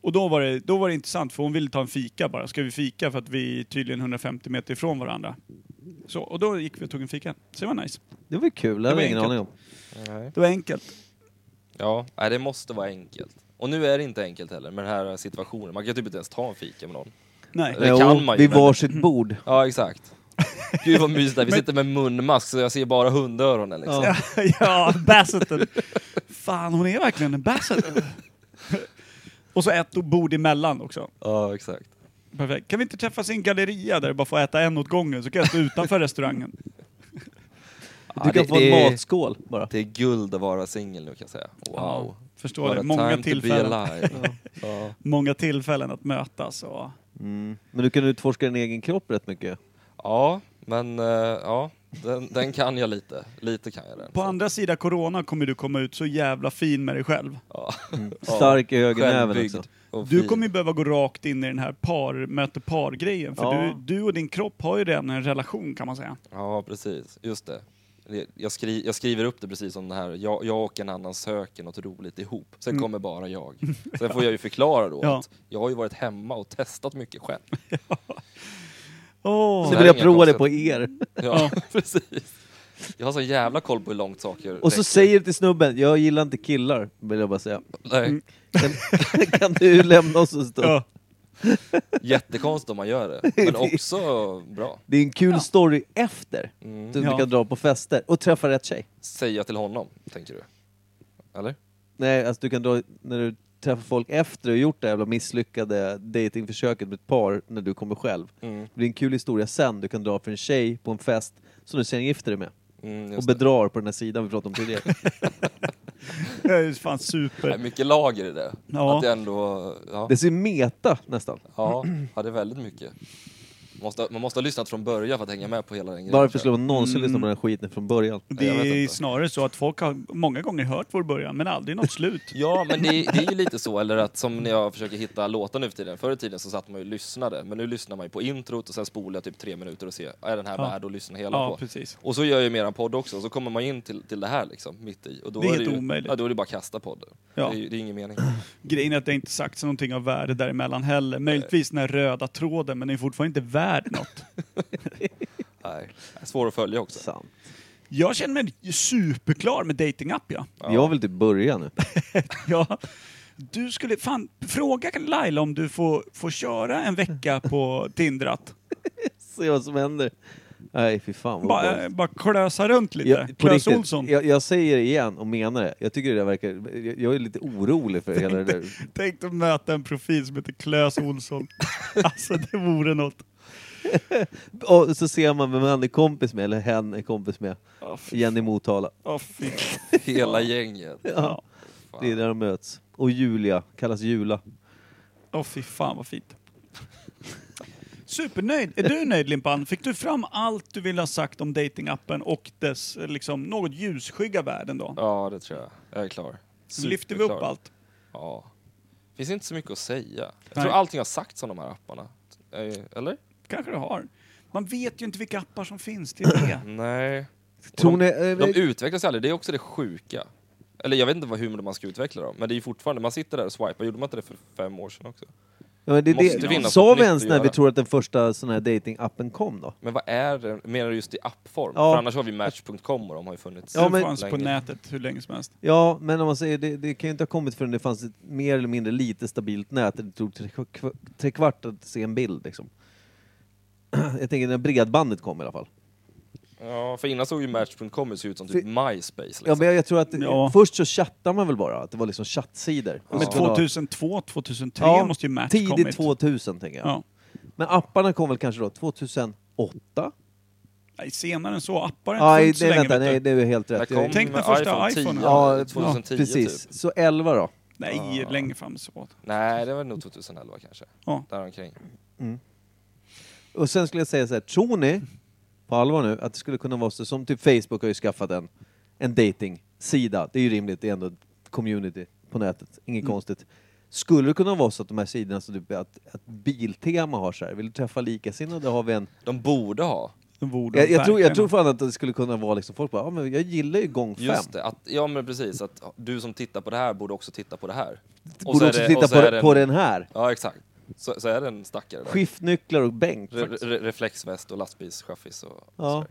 S6: Och då var, det, då var det intressant för hon ville ta en fika bara. Ska vi fika för att vi är tydligen 150 meter ifrån varandra. Så, och då gick vi och tog en fika. Så det var nice.
S4: Det var ju kul, det
S6: Det
S4: hade
S6: var
S4: jag ingen
S6: enkelt.
S4: aning om.
S6: Det var enkelt.
S5: Ja, nej, det måste vara enkelt. Och nu är det inte enkelt heller med den här situationen. Man kan typ inte ens ta en fika med någon.
S6: Nej.
S5: Det kan
S4: Jo,
S5: man ju,
S4: vid
S5: men-
S4: varsitt bord.
S5: Ja, exakt. [laughs] Gud vad mysigt där. vi
S6: Men-
S5: sitter med munmask så jag ser bara hundöronen liksom.
S4: Ja.
S6: ja, [laughs] Basseten. Fan, hon är verkligen en Basset. Och så ett bord emellan också.
S5: Ja, exakt.
S6: Perfekt. Kan vi inte träffas i en galleria där du bara får äta en åt gången så kan jag stå utanför restaurangen?
S5: Ja,
S4: Du kan
S5: det,
S4: få en
S5: det, är,
S4: matskål bara.
S5: det är guld att vara singel nu kan jag säga. Wow.
S6: Förstår
S5: What a
S6: det. Många
S5: time to be
S6: tillfällen,
S5: alive. ja.
S6: många tillfällen att mötas. Och...
S4: Men du kan utforska din egen kropp rätt mycket.
S5: ja, men eh, ja, den, den kan jag lite. Lite kan jag den.
S6: På
S5: Så,
S6: andra sidan corona kommer du komma ut så jävla fin med dig själv.
S5: ja.
S4: Stark i högernäven
S5: Självbyggd
S4: också.
S5: och
S6: Du
S5: fin.
S6: kommer ju behöva gå rakt in i den här par, möte par-grejen. För
S4: Ja.
S6: du, du och din kropp har ju redan en relation kan man säga.
S5: Ja, precis. Just det. Det- Jag, skri, jag skriver upp det precis som det här, jag, jag och en annan söker något roligt ihop. Sen
S4: Mm.
S5: kommer bara
S4: [laughs]
S5: jag. Sen får jag ju förklara då
S6: Ja.
S5: att jag har ju varit hemma och testat mycket
S4: [laughs]
S5: själv.
S6: Åh.
S4: Så
S5: det
S4: vill
S5: är
S4: jag
S5: inga
S4: prova det på
S5: konstigheter.
S4: er.
S5: Ja, [laughs] precis. Jag har så jävla koll på hur långt saker
S4: Och så
S5: räcker. [laughs]
S4: säger du till snubben, jag gillar inte killar, vill jag bara säga.
S5: Nej,
S4: Kan, [laughs] kan du lämna oss en stund?
S6: Ja.
S5: jättekonstigt om man gör
S4: [laughs]
S5: det, men också bra.
S4: Det är en kul story efter.
S5: Mm.
S4: Så att
S6: Ja.
S4: du kan dra på fester och träffa rätt tjej.
S5: Säger jag till honom, tänker du? Eller?
S4: Nej, alltså du kan dra när du träffar folk efter du har gjort det jävla misslyckade datingförsöket med ett par när du kommer själv.
S5: Mm.
S4: Det är en kul historia sen du kan dra för en tjej på en fest som du sen gifter dig med.
S5: Mm,
S4: Och
S5: just det.
S4: bedrar på den här sidan vi pratade om tidigare.
S6: Det är ju fan
S5: Nej,
S6: super.
S5: mycket lager i det.
S6: Ja.
S5: Att det ändå, ja,
S4: Det är så meta nästan.
S5: ja, ja, det är väldigt mycket. Måste, man måste ha lyssnat från början för att hänga med på hela den grejen.
S4: Varför
S5: tror
S4: skulle man någonsin
S6: Mm.
S4: lyssna på den här skiten från början?
S6: Det
S5: Jag vet
S6: är
S5: inte.
S6: snarare så att folk har många gånger hört vår början, men aldrig något
S5: [laughs]
S6: slut.
S5: jag. Ja, men det, är- det är ju lite så, eller att som när jag försöker hitta låtar nu för tiden. Förr i tiden så satt man ju och lyssnade, men nu lyssnar man ju på introt och sen spolar jag typ tre minuter och ser, är den här
S6: Ja.
S5: värd att lyssna hela
S6: Ja,
S5: på?
S6: precis.
S5: Och så gör jag ju mer en podd också, och så kommer man in till, till det här liksom, mitt i. Och då
S6: Det är
S5: det
S6: helt
S5: ju,
S6: omöjligt.
S5: Ja, då är det bara att kasta podden.
S6: Ja.
S5: Det, är, ju- det är ingen mening.
S6: Grejen är att det inte sagts någonting av värde däremellan heller. Möjligtvis den här röda tråden, men den är fortfarande inte värd
S5: [laughs]
S6: något.
S5: Nej. Svår att följa
S6: [laughs]
S5: också.
S4: Sant.
S6: Jag känner mig superklar med datingapp, ja. [laughs]
S4: Jag vill typ börja nu. [laughs]
S6: ja. Du skulle, fan, fråga Laila om du får, får köra en vecka på
S5: [laughs]
S6: Tindrat.
S4: Se vad som händer. Nej, fy fan
S5: Oh,
S4: vad
S6: Bara, eh,
S4: dåligt.
S6: bara klösa runt lite.
S4: Jag- på
S6: Klös
S4: riktigt,
S6: Olsson.
S4: Jag, jag säger det igen och menar det. Jag tycker det där verkar... Jag, jag är lite orolig för hela
S5: [laughs]
S4: det där.
S6: Tänk att möta en profil som heter Klös Olsson. alltså det vore något.
S4: Och så ser man vem han är kompis med, eller hen är kompis med. Jenny Motala.
S6: Åh, fy.
S5: Hela gänget.
S4: Ja.
S5: Fan.
S4: Det är där de möts. Och Julia, kallas Jula.
S6: Åh fy fan vad fint. Supernöjd. Är du nöjd Limpan? Fick du fram allt du ville ha sagt om datingappen och dess eh, liksom, något ljusskygga värden då?
S5: Ja, det tror jag. Jag är klar.
S6: Lyfter vi upp
S5: Superklar.
S6: allt?
S5: Ja. Finns inte så mycket att säga. Jag
S6: Nej.
S5: tror allting har sagts om de här apparna. Eh, Eller?
S6: Kanske du har. Man vet ju inte vilka appar som finns till
S4: [clears throat]
S6: det.
S5: Nej.
S4: Tror
S5: de,
S4: ni... eh,
S5: de utvecklas aldrig, det är också det sjuka. Eller jag vet inte vad, hur man ska utveckla dem, men det är ju fortfarande, man sitter där och swipar. Gjorde man inte det för fem år sedan också?
S4: ja, men det,
S5: måste
S4: det,
S5: vinna
S4: sa
S5: något
S4: vi
S5: nytt
S4: ens
S5: att
S4: när vi
S5: göra.
S4: tror att den första sån här datingappen kom då?
S5: Men vad är det, menar du just i appform?
S4: Ja.
S5: För annars har vi Match.com och de har ju funnits
S4: Ja,
S6: Ja,
S4: men-
S6: fanns på
S5: länge.
S6: nätet hur länge som helst.
S4: Ja, men om man säger det, det kan ju inte ha kommit förrän det fanns ett mer eller mindre lite stabilt nät. där Det tog tre, kva- tre kvart att se en bild liksom. [clears throat] Jag tänker när bredbandet kom i alla fall.
S5: Ja, för innan såg ju Match.com ut- se ut som typ
S4: För-
S5: MySpace. Liksom.
S4: Ja, men jag tror att
S6: Ja.
S4: först så chattade man väl bara, att det var liksom chattsidor.
S6: Men
S4: Och så kunde ha-
S6: 2002, 2003
S4: Ja,
S6: måste ju Match
S4: Tidigt
S6: kommit.
S4: 2000 tänker jag.
S6: Ja.
S4: Men apparna kom väl kanske då 2008?
S6: Nej, senare än så. Appar har inte
S4: Nej,
S6: funnits så
S4: nej
S6: länge.
S4: vänta,
S6: vet du.
S4: nej det är helt
S5: När
S4: rätt.
S5: kom
S4: Jag-
S6: Tänk när första
S5: iPhone 10?
S6: iPhonen-
S4: Ja,
S5: 2010
S4: precis.
S5: typ.
S4: Så 11 då?
S6: nej längre fram så.
S5: Nej, det var nog 2011 kanske.
S6: Ja.
S5: Däromkring.
S4: Och sen skulle jag säga så här, tror ni på allvar nu att det skulle kunna vara så som typ Facebook har ju skaffat en, en dating-sida. Det är ju rimligt, det är ändå ett community på nätet, inget
S5: Mm.
S4: konstigt. Skulle det kunna vara så att de här sidorna som typ att, att Biltema har så här, vill du träffa likasinnade har vi en...
S5: De borde ha.
S6: De borde
S4: Jag, jag, tror, jag
S6: verkligen-
S4: tror fan att det skulle kunna vara liksom, folk bara, ja men jag gillar ju gång fem.
S5: Just det, att, ja men precis. Att du som tittar på det här borde också titta på det här. Och så
S4: Borde
S5: är
S4: också
S5: det-
S4: titta
S5: och så
S4: på,
S5: är det en-
S4: på den här.
S5: Ja, exakt. Så, så är det en stackare där.
S4: Skiftnycklar och bänk. typ.
S5: Re, [laughs] re, reflexväst och lastbilschaffis och
S4: Ja.
S5: ja.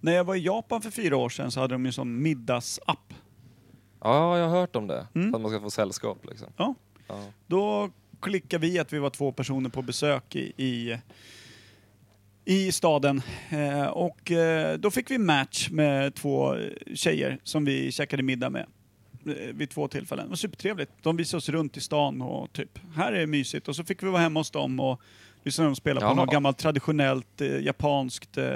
S6: När jag var i Japan för fyra år sedan så hade de ju en sån middagsapp.
S5: ja, jag har hört om det.
S4: Mm.
S5: Att man ska få sällskap liksom.
S6: Ja.
S5: Ja.
S6: Då klickade vi att vi var två personer på besök i, i, i staden. Eh, och eh, då fick vi match med två eh, tjejer som vi käkade middag med eh, vid två tillfällen. Det var supertrevligt. De visade oss runt i stan och typ, här är det mysigt. Och så fick vi vara hemma hos dem och lyssna när de spelade på
S5: Jaha.
S6: något gammalt traditionellt eh, japanskt eh,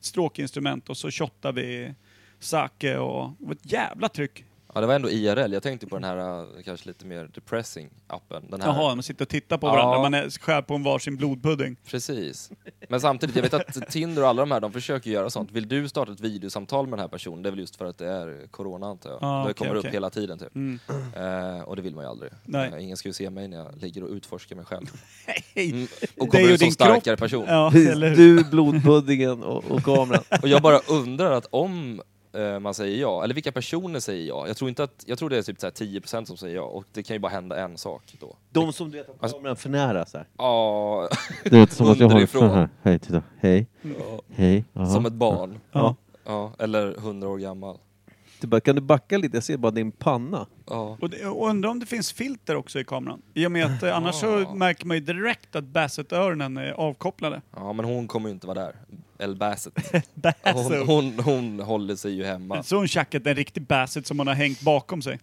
S6: stråkinstrument och så shottade vi sake och det var ett jävla tryck.
S5: ja, det var ändå IRL. Jag tänkte på den här eh, kanske lite mer depressing appen. Den här.
S6: Jaha, man sitter och tittar på
S5: Ja.
S6: varandra, man är, skär på en varsin blodpudding.
S5: Precis. Men samtidigt, jag vet att Tinder och alla de här, de försöker göra sånt. Vill du starta ett videosamtal med den här personen, det är väl just för att det är corona antar jag.
S6: Ah,
S5: det
S6: okej,
S5: kommer
S6: okej.
S5: upp hela tiden typ.
S6: Mm.
S5: Eh, och det vill man ju aldrig.
S6: Nej.
S5: Eh, ingen ska ju se mig när jag ligger och utforskar mig
S6: [laughs]
S5: själv.
S6: Hej.
S5: Mm. Och
S6: Det är
S5: kommer
S6: ju
S5: ut som
S6: din
S5: starkare person.
S6: Ja,
S4: Precis,
S6: eller
S5: [laughs]
S6: hur?
S4: du, blodpuddingen och, och kameran.
S5: Och jag bara undrar att om eh, man säger ja, eller vilka personer säger ja. Jag tror, inte att, jag tror det är typ så här 10% som säger ja och det kan ju bara hända en sak då.
S4: De som du vet har
S5: Alltså-
S4: kameran för nära så här.
S5: Ja, [laughs]
S6: [laughs]
S4: Det är som att jag håller
S5: Underifrån.
S4: så här. [laughs] Hej, titta. Hej. Hej. Jaha.
S5: som ett barn.
S6: Ja.
S5: Ja, eller 100 år gammal.
S4: Du typ bara, kan du backa lite? Jag ser bara din panna.
S5: Ja.
S6: Och, det, och undrar om det finns filter också i kameran? I och med att eh, annars så märker man ju direkt att Bassett-öronen är avkopplade.
S5: ja, men hon kommer ju inte vara där. El Bassett.
S6: [laughs]
S5: Hon,
S6: Bassett.
S5: hon, hon håller sig ju hemma.
S6: Så hon tjackat en riktig Bassett som hon har hängt bakom sig.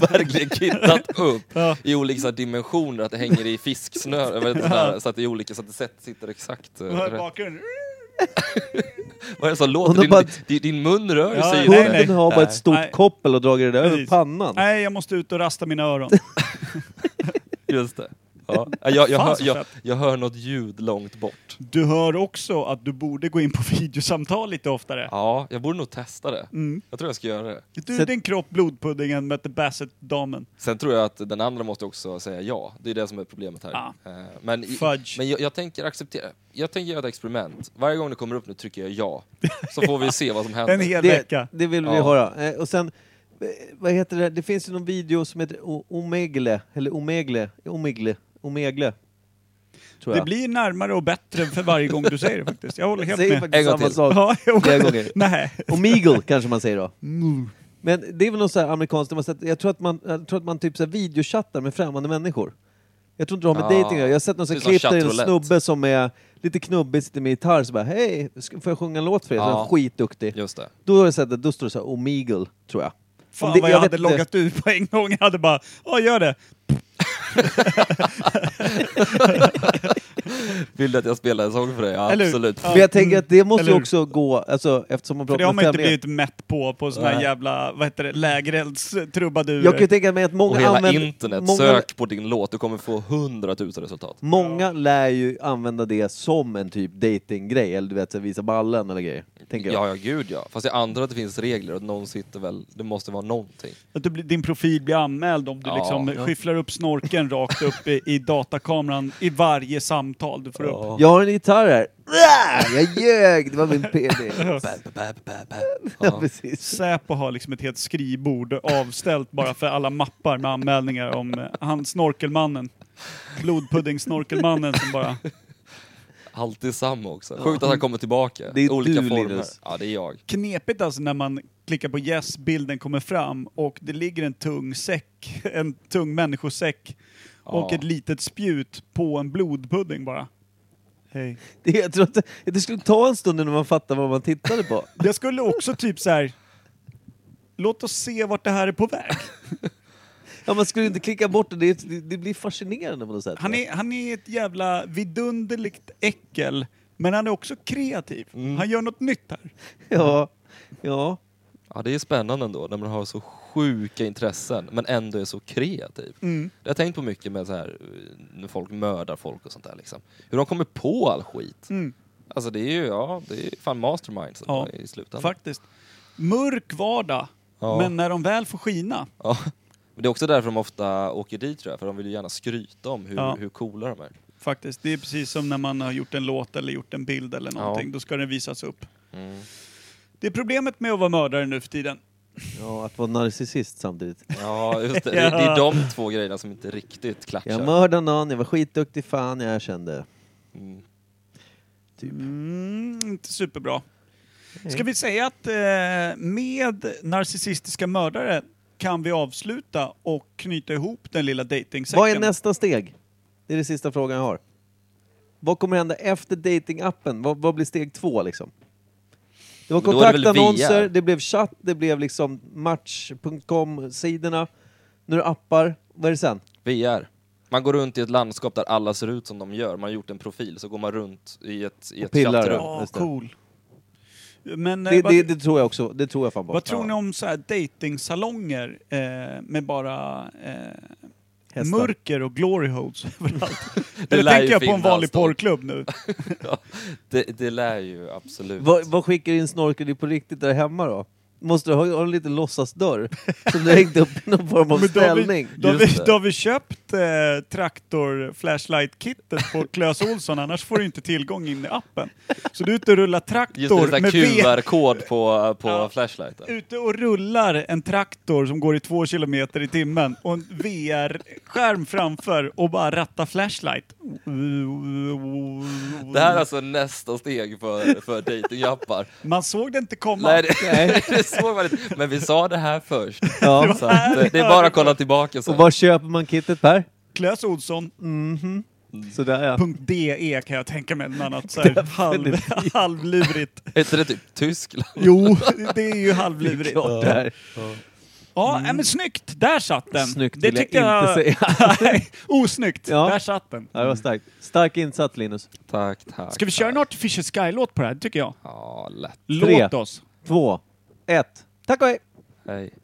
S5: Verkligen kittat upp
S6: Ja.
S5: i olika dimensioner, att det hänger i fisksnör, jag vet inte, sådär, så att det är olika, så att det sätt- sitter exakt eh,
S6: Hon har i
S5: rätt.
S6: bakgrunden.
S5: Vad är det som
S4: Hon
S5: låter?
S4: har
S5: Din,
S4: bara-
S5: din, din mun rör
S6: Ja,
S5: sig ju
S6: nej,
S5: inte.
S4: Hunden har bara ett stort
S6: Nej.
S4: koppel och dragit det där över
S6: Precis.
S4: pannan.
S6: Nej, jag måste ut och rasta mina öron.
S5: Just det. Ja. Jag, jag,
S6: Fan,
S5: hör,
S6: så
S5: jag,
S6: fett.
S5: jag hör något ljud långt bort.
S6: Du hör också att du borde gå in på [laughs] videosamtal lite oftare.
S5: Ja, jag borde nog testa det.
S6: Mm.
S5: Jag tror jag ska göra det.
S6: Du,
S4: Så-
S6: din kropp, blodpuddingen, mötte Bassett-damen.
S5: Sen tror jag att den andra måste också säga ja. Det är det som är problemet här.
S6: Ja.
S5: Eh, Men, i-
S6: Fudge.
S5: men jag, jag tänker acceptera. Jag tänker göra ett experiment. Varje gång det kommer upp nu trycker jag ja. Så får vi se
S4: [laughs]
S5: vad som händer.
S6: En hel
S4: Det,
S6: vecka.
S4: det vill vi
S5: Ja.
S4: höra. Eh, och sen, eh, vad heter det? Det finns ju någon video som heter O- Omegle, eller Omegle, Omegle, Omegle. Tror
S6: Det
S4: jag.
S6: blir närmare och bättre för varje gång du säger det faktiskt. Jag håller helt
S4: Säger
S6: med.
S4: faktiskt
S5: En gång
S4: samma
S5: till.
S4: sak.
S6: Ja, jo.
S4: Flera gånger.
S6: Nej.
S4: Omegle kanske man säger då.
S6: Mm.
S4: Men det är väl något så här amerikanskt, där man sätter- jag tror att man, jag tror att man typ så här videochattar med främmande människor. Jag tror inte det har med
S5: Ah.
S4: dejting att göra. Jag har sett någon
S5: Det är
S4: sån
S5: som
S4: klipp där det är en
S5: chattroulette.
S4: snubbe som är lite knubbig, sitter med gitarr så bara hej, ska- får jag sjunga en låt för er? Så
S5: Ja.
S4: är han skitduktig.
S5: Just det.
S4: Då har jag sett det, då står det så här Omegle, tror jag. Om
S6: Fan
S4: det-
S6: vad jag,
S4: vet
S6: hade
S4: inte.
S6: loggat ut på en gång. Jag hade bara, ja gör det.
S5: Vill du att jag spelar en sång för dig? Ja,
S6: Eller hur?
S5: absolut.
S6: Ja.
S4: Men jag tänker att det måste
S6: Eller
S4: ju
S6: hur?
S4: också gå, alltså eftersom man
S6: För det har
S4: pratar
S6: man
S4: med e-
S6: inte
S4: främlingar.
S6: blivit mätt på, på såna här
S5: Nej.
S6: jävla, vad heter det, lägereldstrubadurer.
S4: Jag kan ju tänka mig att många
S5: Och hela
S4: använder...
S5: internet,
S4: många,
S5: sök på din låt. Du kommer få hundratusen resultat.
S4: Många lär ju använda det som en typ datinggrej eller du vet, så här, visa ballen eller grejer. Tänker jag.
S5: Ja, ja, gud ja. Fast jag antar att det finns regler och att någon sitter väl, det måste vara någonting.
S6: Att du, blir- din profil blir anmäld om du
S5: Ja.
S6: liksom skyfflar upp snorken rakt upp i, i datakameran i varje samtal du får upp.
S4: Jag har en gitarr här. Ah, Jag ljög! Det var min PD. Ja, precis.
S6: Säpo har liksom ett helt skrivbord avställt bara för alla mappar med anmälningar om eh, han snorkelmannen. Blodpudding-snorkelmannen som bara...
S5: Alltid samma också. Sjukt att han kommer tillbaka.
S4: Det är
S5: Olika
S4: du,
S5: former.
S4: Linus.
S5: Ja, det är jag.
S6: Knepigt alltså när man klickar på yes, bilden kommer fram och det ligger en tung säck, [laughs] en tung människosäck och
S5: Ja.
S6: ett litet spjut på en blodpudding bara. Hej.
S4: Det, jag tror att det, det skulle ta en stund innan man fattar vad man tittade på.
S6: Jag skulle också typ så här. låt oss se vart det här är på väg.
S4: Ja, man skulle inte klicka bort det. Det, det, det blir fascinerande på något sätt.
S6: Han är, han är ett jävla vidunderligt äckel, men han är också kreativ.
S5: Mm.
S6: Han gör något nytt här.
S4: Ja. ja.
S5: Ja, det är spännande ändå när man har så sjuka intressen men ändå är så kreativ.
S6: Mm.
S5: Jag har tänkt på mycket med så här eh, när folk mördar folk och sånt där liksom. Hur de kommer på all skit. Alltså det är ju, ja, det är fan masterminds
S6: Mm. Ja.
S5: i slutändan.
S6: Faktiskt. Mörk vardag,
S5: Ja.
S6: men när de väl får skina.
S5: Ja. Men det är också därför de ofta åker dit tror jag, för de vill ju gärna skryta om hur,
S6: Ja.
S5: hur coola de är.
S6: Faktiskt. Det är precis som när man har gjort en låt eller gjort en bild eller någonting. Då ska den visas upp.
S4: Mm.
S6: Det är problemet med att vara mördare nu för tiden.
S4: ja, att vara narcissist samtidigt.
S5: Ja,
S6: [laughs]
S5: just det. Det, det är de två grejerna som inte riktigt klatschar.
S4: Jag mördade någon, jag var skitduktig, fan jag erkände.
S5: Mm.
S4: Typ.
S6: Mm, inte superbra. Ska vi säga att eh, med narcissistiska mördare kan vi avsluta och knyta ihop den lilla dejtingsäcken.
S4: Vad är nästa steg? Det är den sista frågan jag har. Vad kommer hända efter datingappen? Vad, vad blir steg två liksom? Det var
S5: Men då är det väl
S4: kontaktannonser,
S5: VR?
S4: det blev chatt, det blev liksom match.com-sidorna. Nu är det appar. Vad är det sen?
S5: VR. Man går runt i ett landskap där alla ser ut som de gör. Man har gjort en profil, så går man runt i ett, i
S4: Och
S5: ett
S4: pillar.
S5: chattrum.
S6: Ja,
S4: Just det.
S6: cool. Men eh,
S4: Det,
S6: vad,
S4: det, det tror jag också. Det tror jag fan på.
S6: vad tror ni om så här dejtingsalonger eh, med bara eh,
S4: Hästar.
S6: mörker och glory holes [laughs] överallt?
S5: [laughs] Det
S6: Eller
S5: lär
S6: tänker
S5: ju
S6: jag på en
S5: finnas
S6: vanlig
S5: då. [laughs]
S6: porrklubb nu?
S5: Det, det lär ju absolut.
S4: Vad, vad skickar in snorkel i på riktigt där hemma då? måste du ha, ha en liten låtsasdörr som du hängt upp i någon form av
S6: Men då har vi-
S4: ställning.
S6: Då har, vi,
S5: Just det.
S6: då har vi köpt eh,
S5: [laughs]
S6: traktor-flashlight-kittet på Klös Olsson, annars får du inte tillgång in i appen. Så du är ute och rullar
S5: Just det,
S6: traktor
S5: det
S6: med V.
S5: där QR-kod på, på
S6: Ja.
S5: flashlighten.
S6: Ute och rullar en traktor som går i två kilometer i timmen och en VR-skärm framför och bara ratta flashlight.
S5: Det här är alltså nästa steg för, för datingappar.
S6: Man såg det inte komma.
S5: Nej, [laughs] det, det såg man inte. Men vi sa det här först.
S4: Ja.
S5: Så att, eh, det är bara att kolla tillbaka
S4: Och
S5: sen.
S4: var köper man kittet Per?
S6: Klös Olsson
S4: Sådär ja.
S6: .de kan jag tänka mig, något annat så här halv, halvlurigt.
S5: Heter det typ Tyskland?
S6: Jo, det är ju halvlurigt.
S4: Klart där.
S6: Ja, nej, men snyggt! Där satt den!
S4: Snyggt
S6: det
S4: vill jag
S6: tyckte jag
S4: inte säga.
S6: [laughs] Nej, osnyggt!
S4: Ja.
S6: Där satt den.
S4: Ja, det var starkt. Stark insats Linus.
S5: Tack, tack.
S6: Ska vi köra en Artificial Sky-låt på det här? Det tycker jag.
S5: Ja, lätt.
S6: Låt
S4: Tre.
S6: oss!
S4: Två, ett. Tack och hej!
S5: Hej.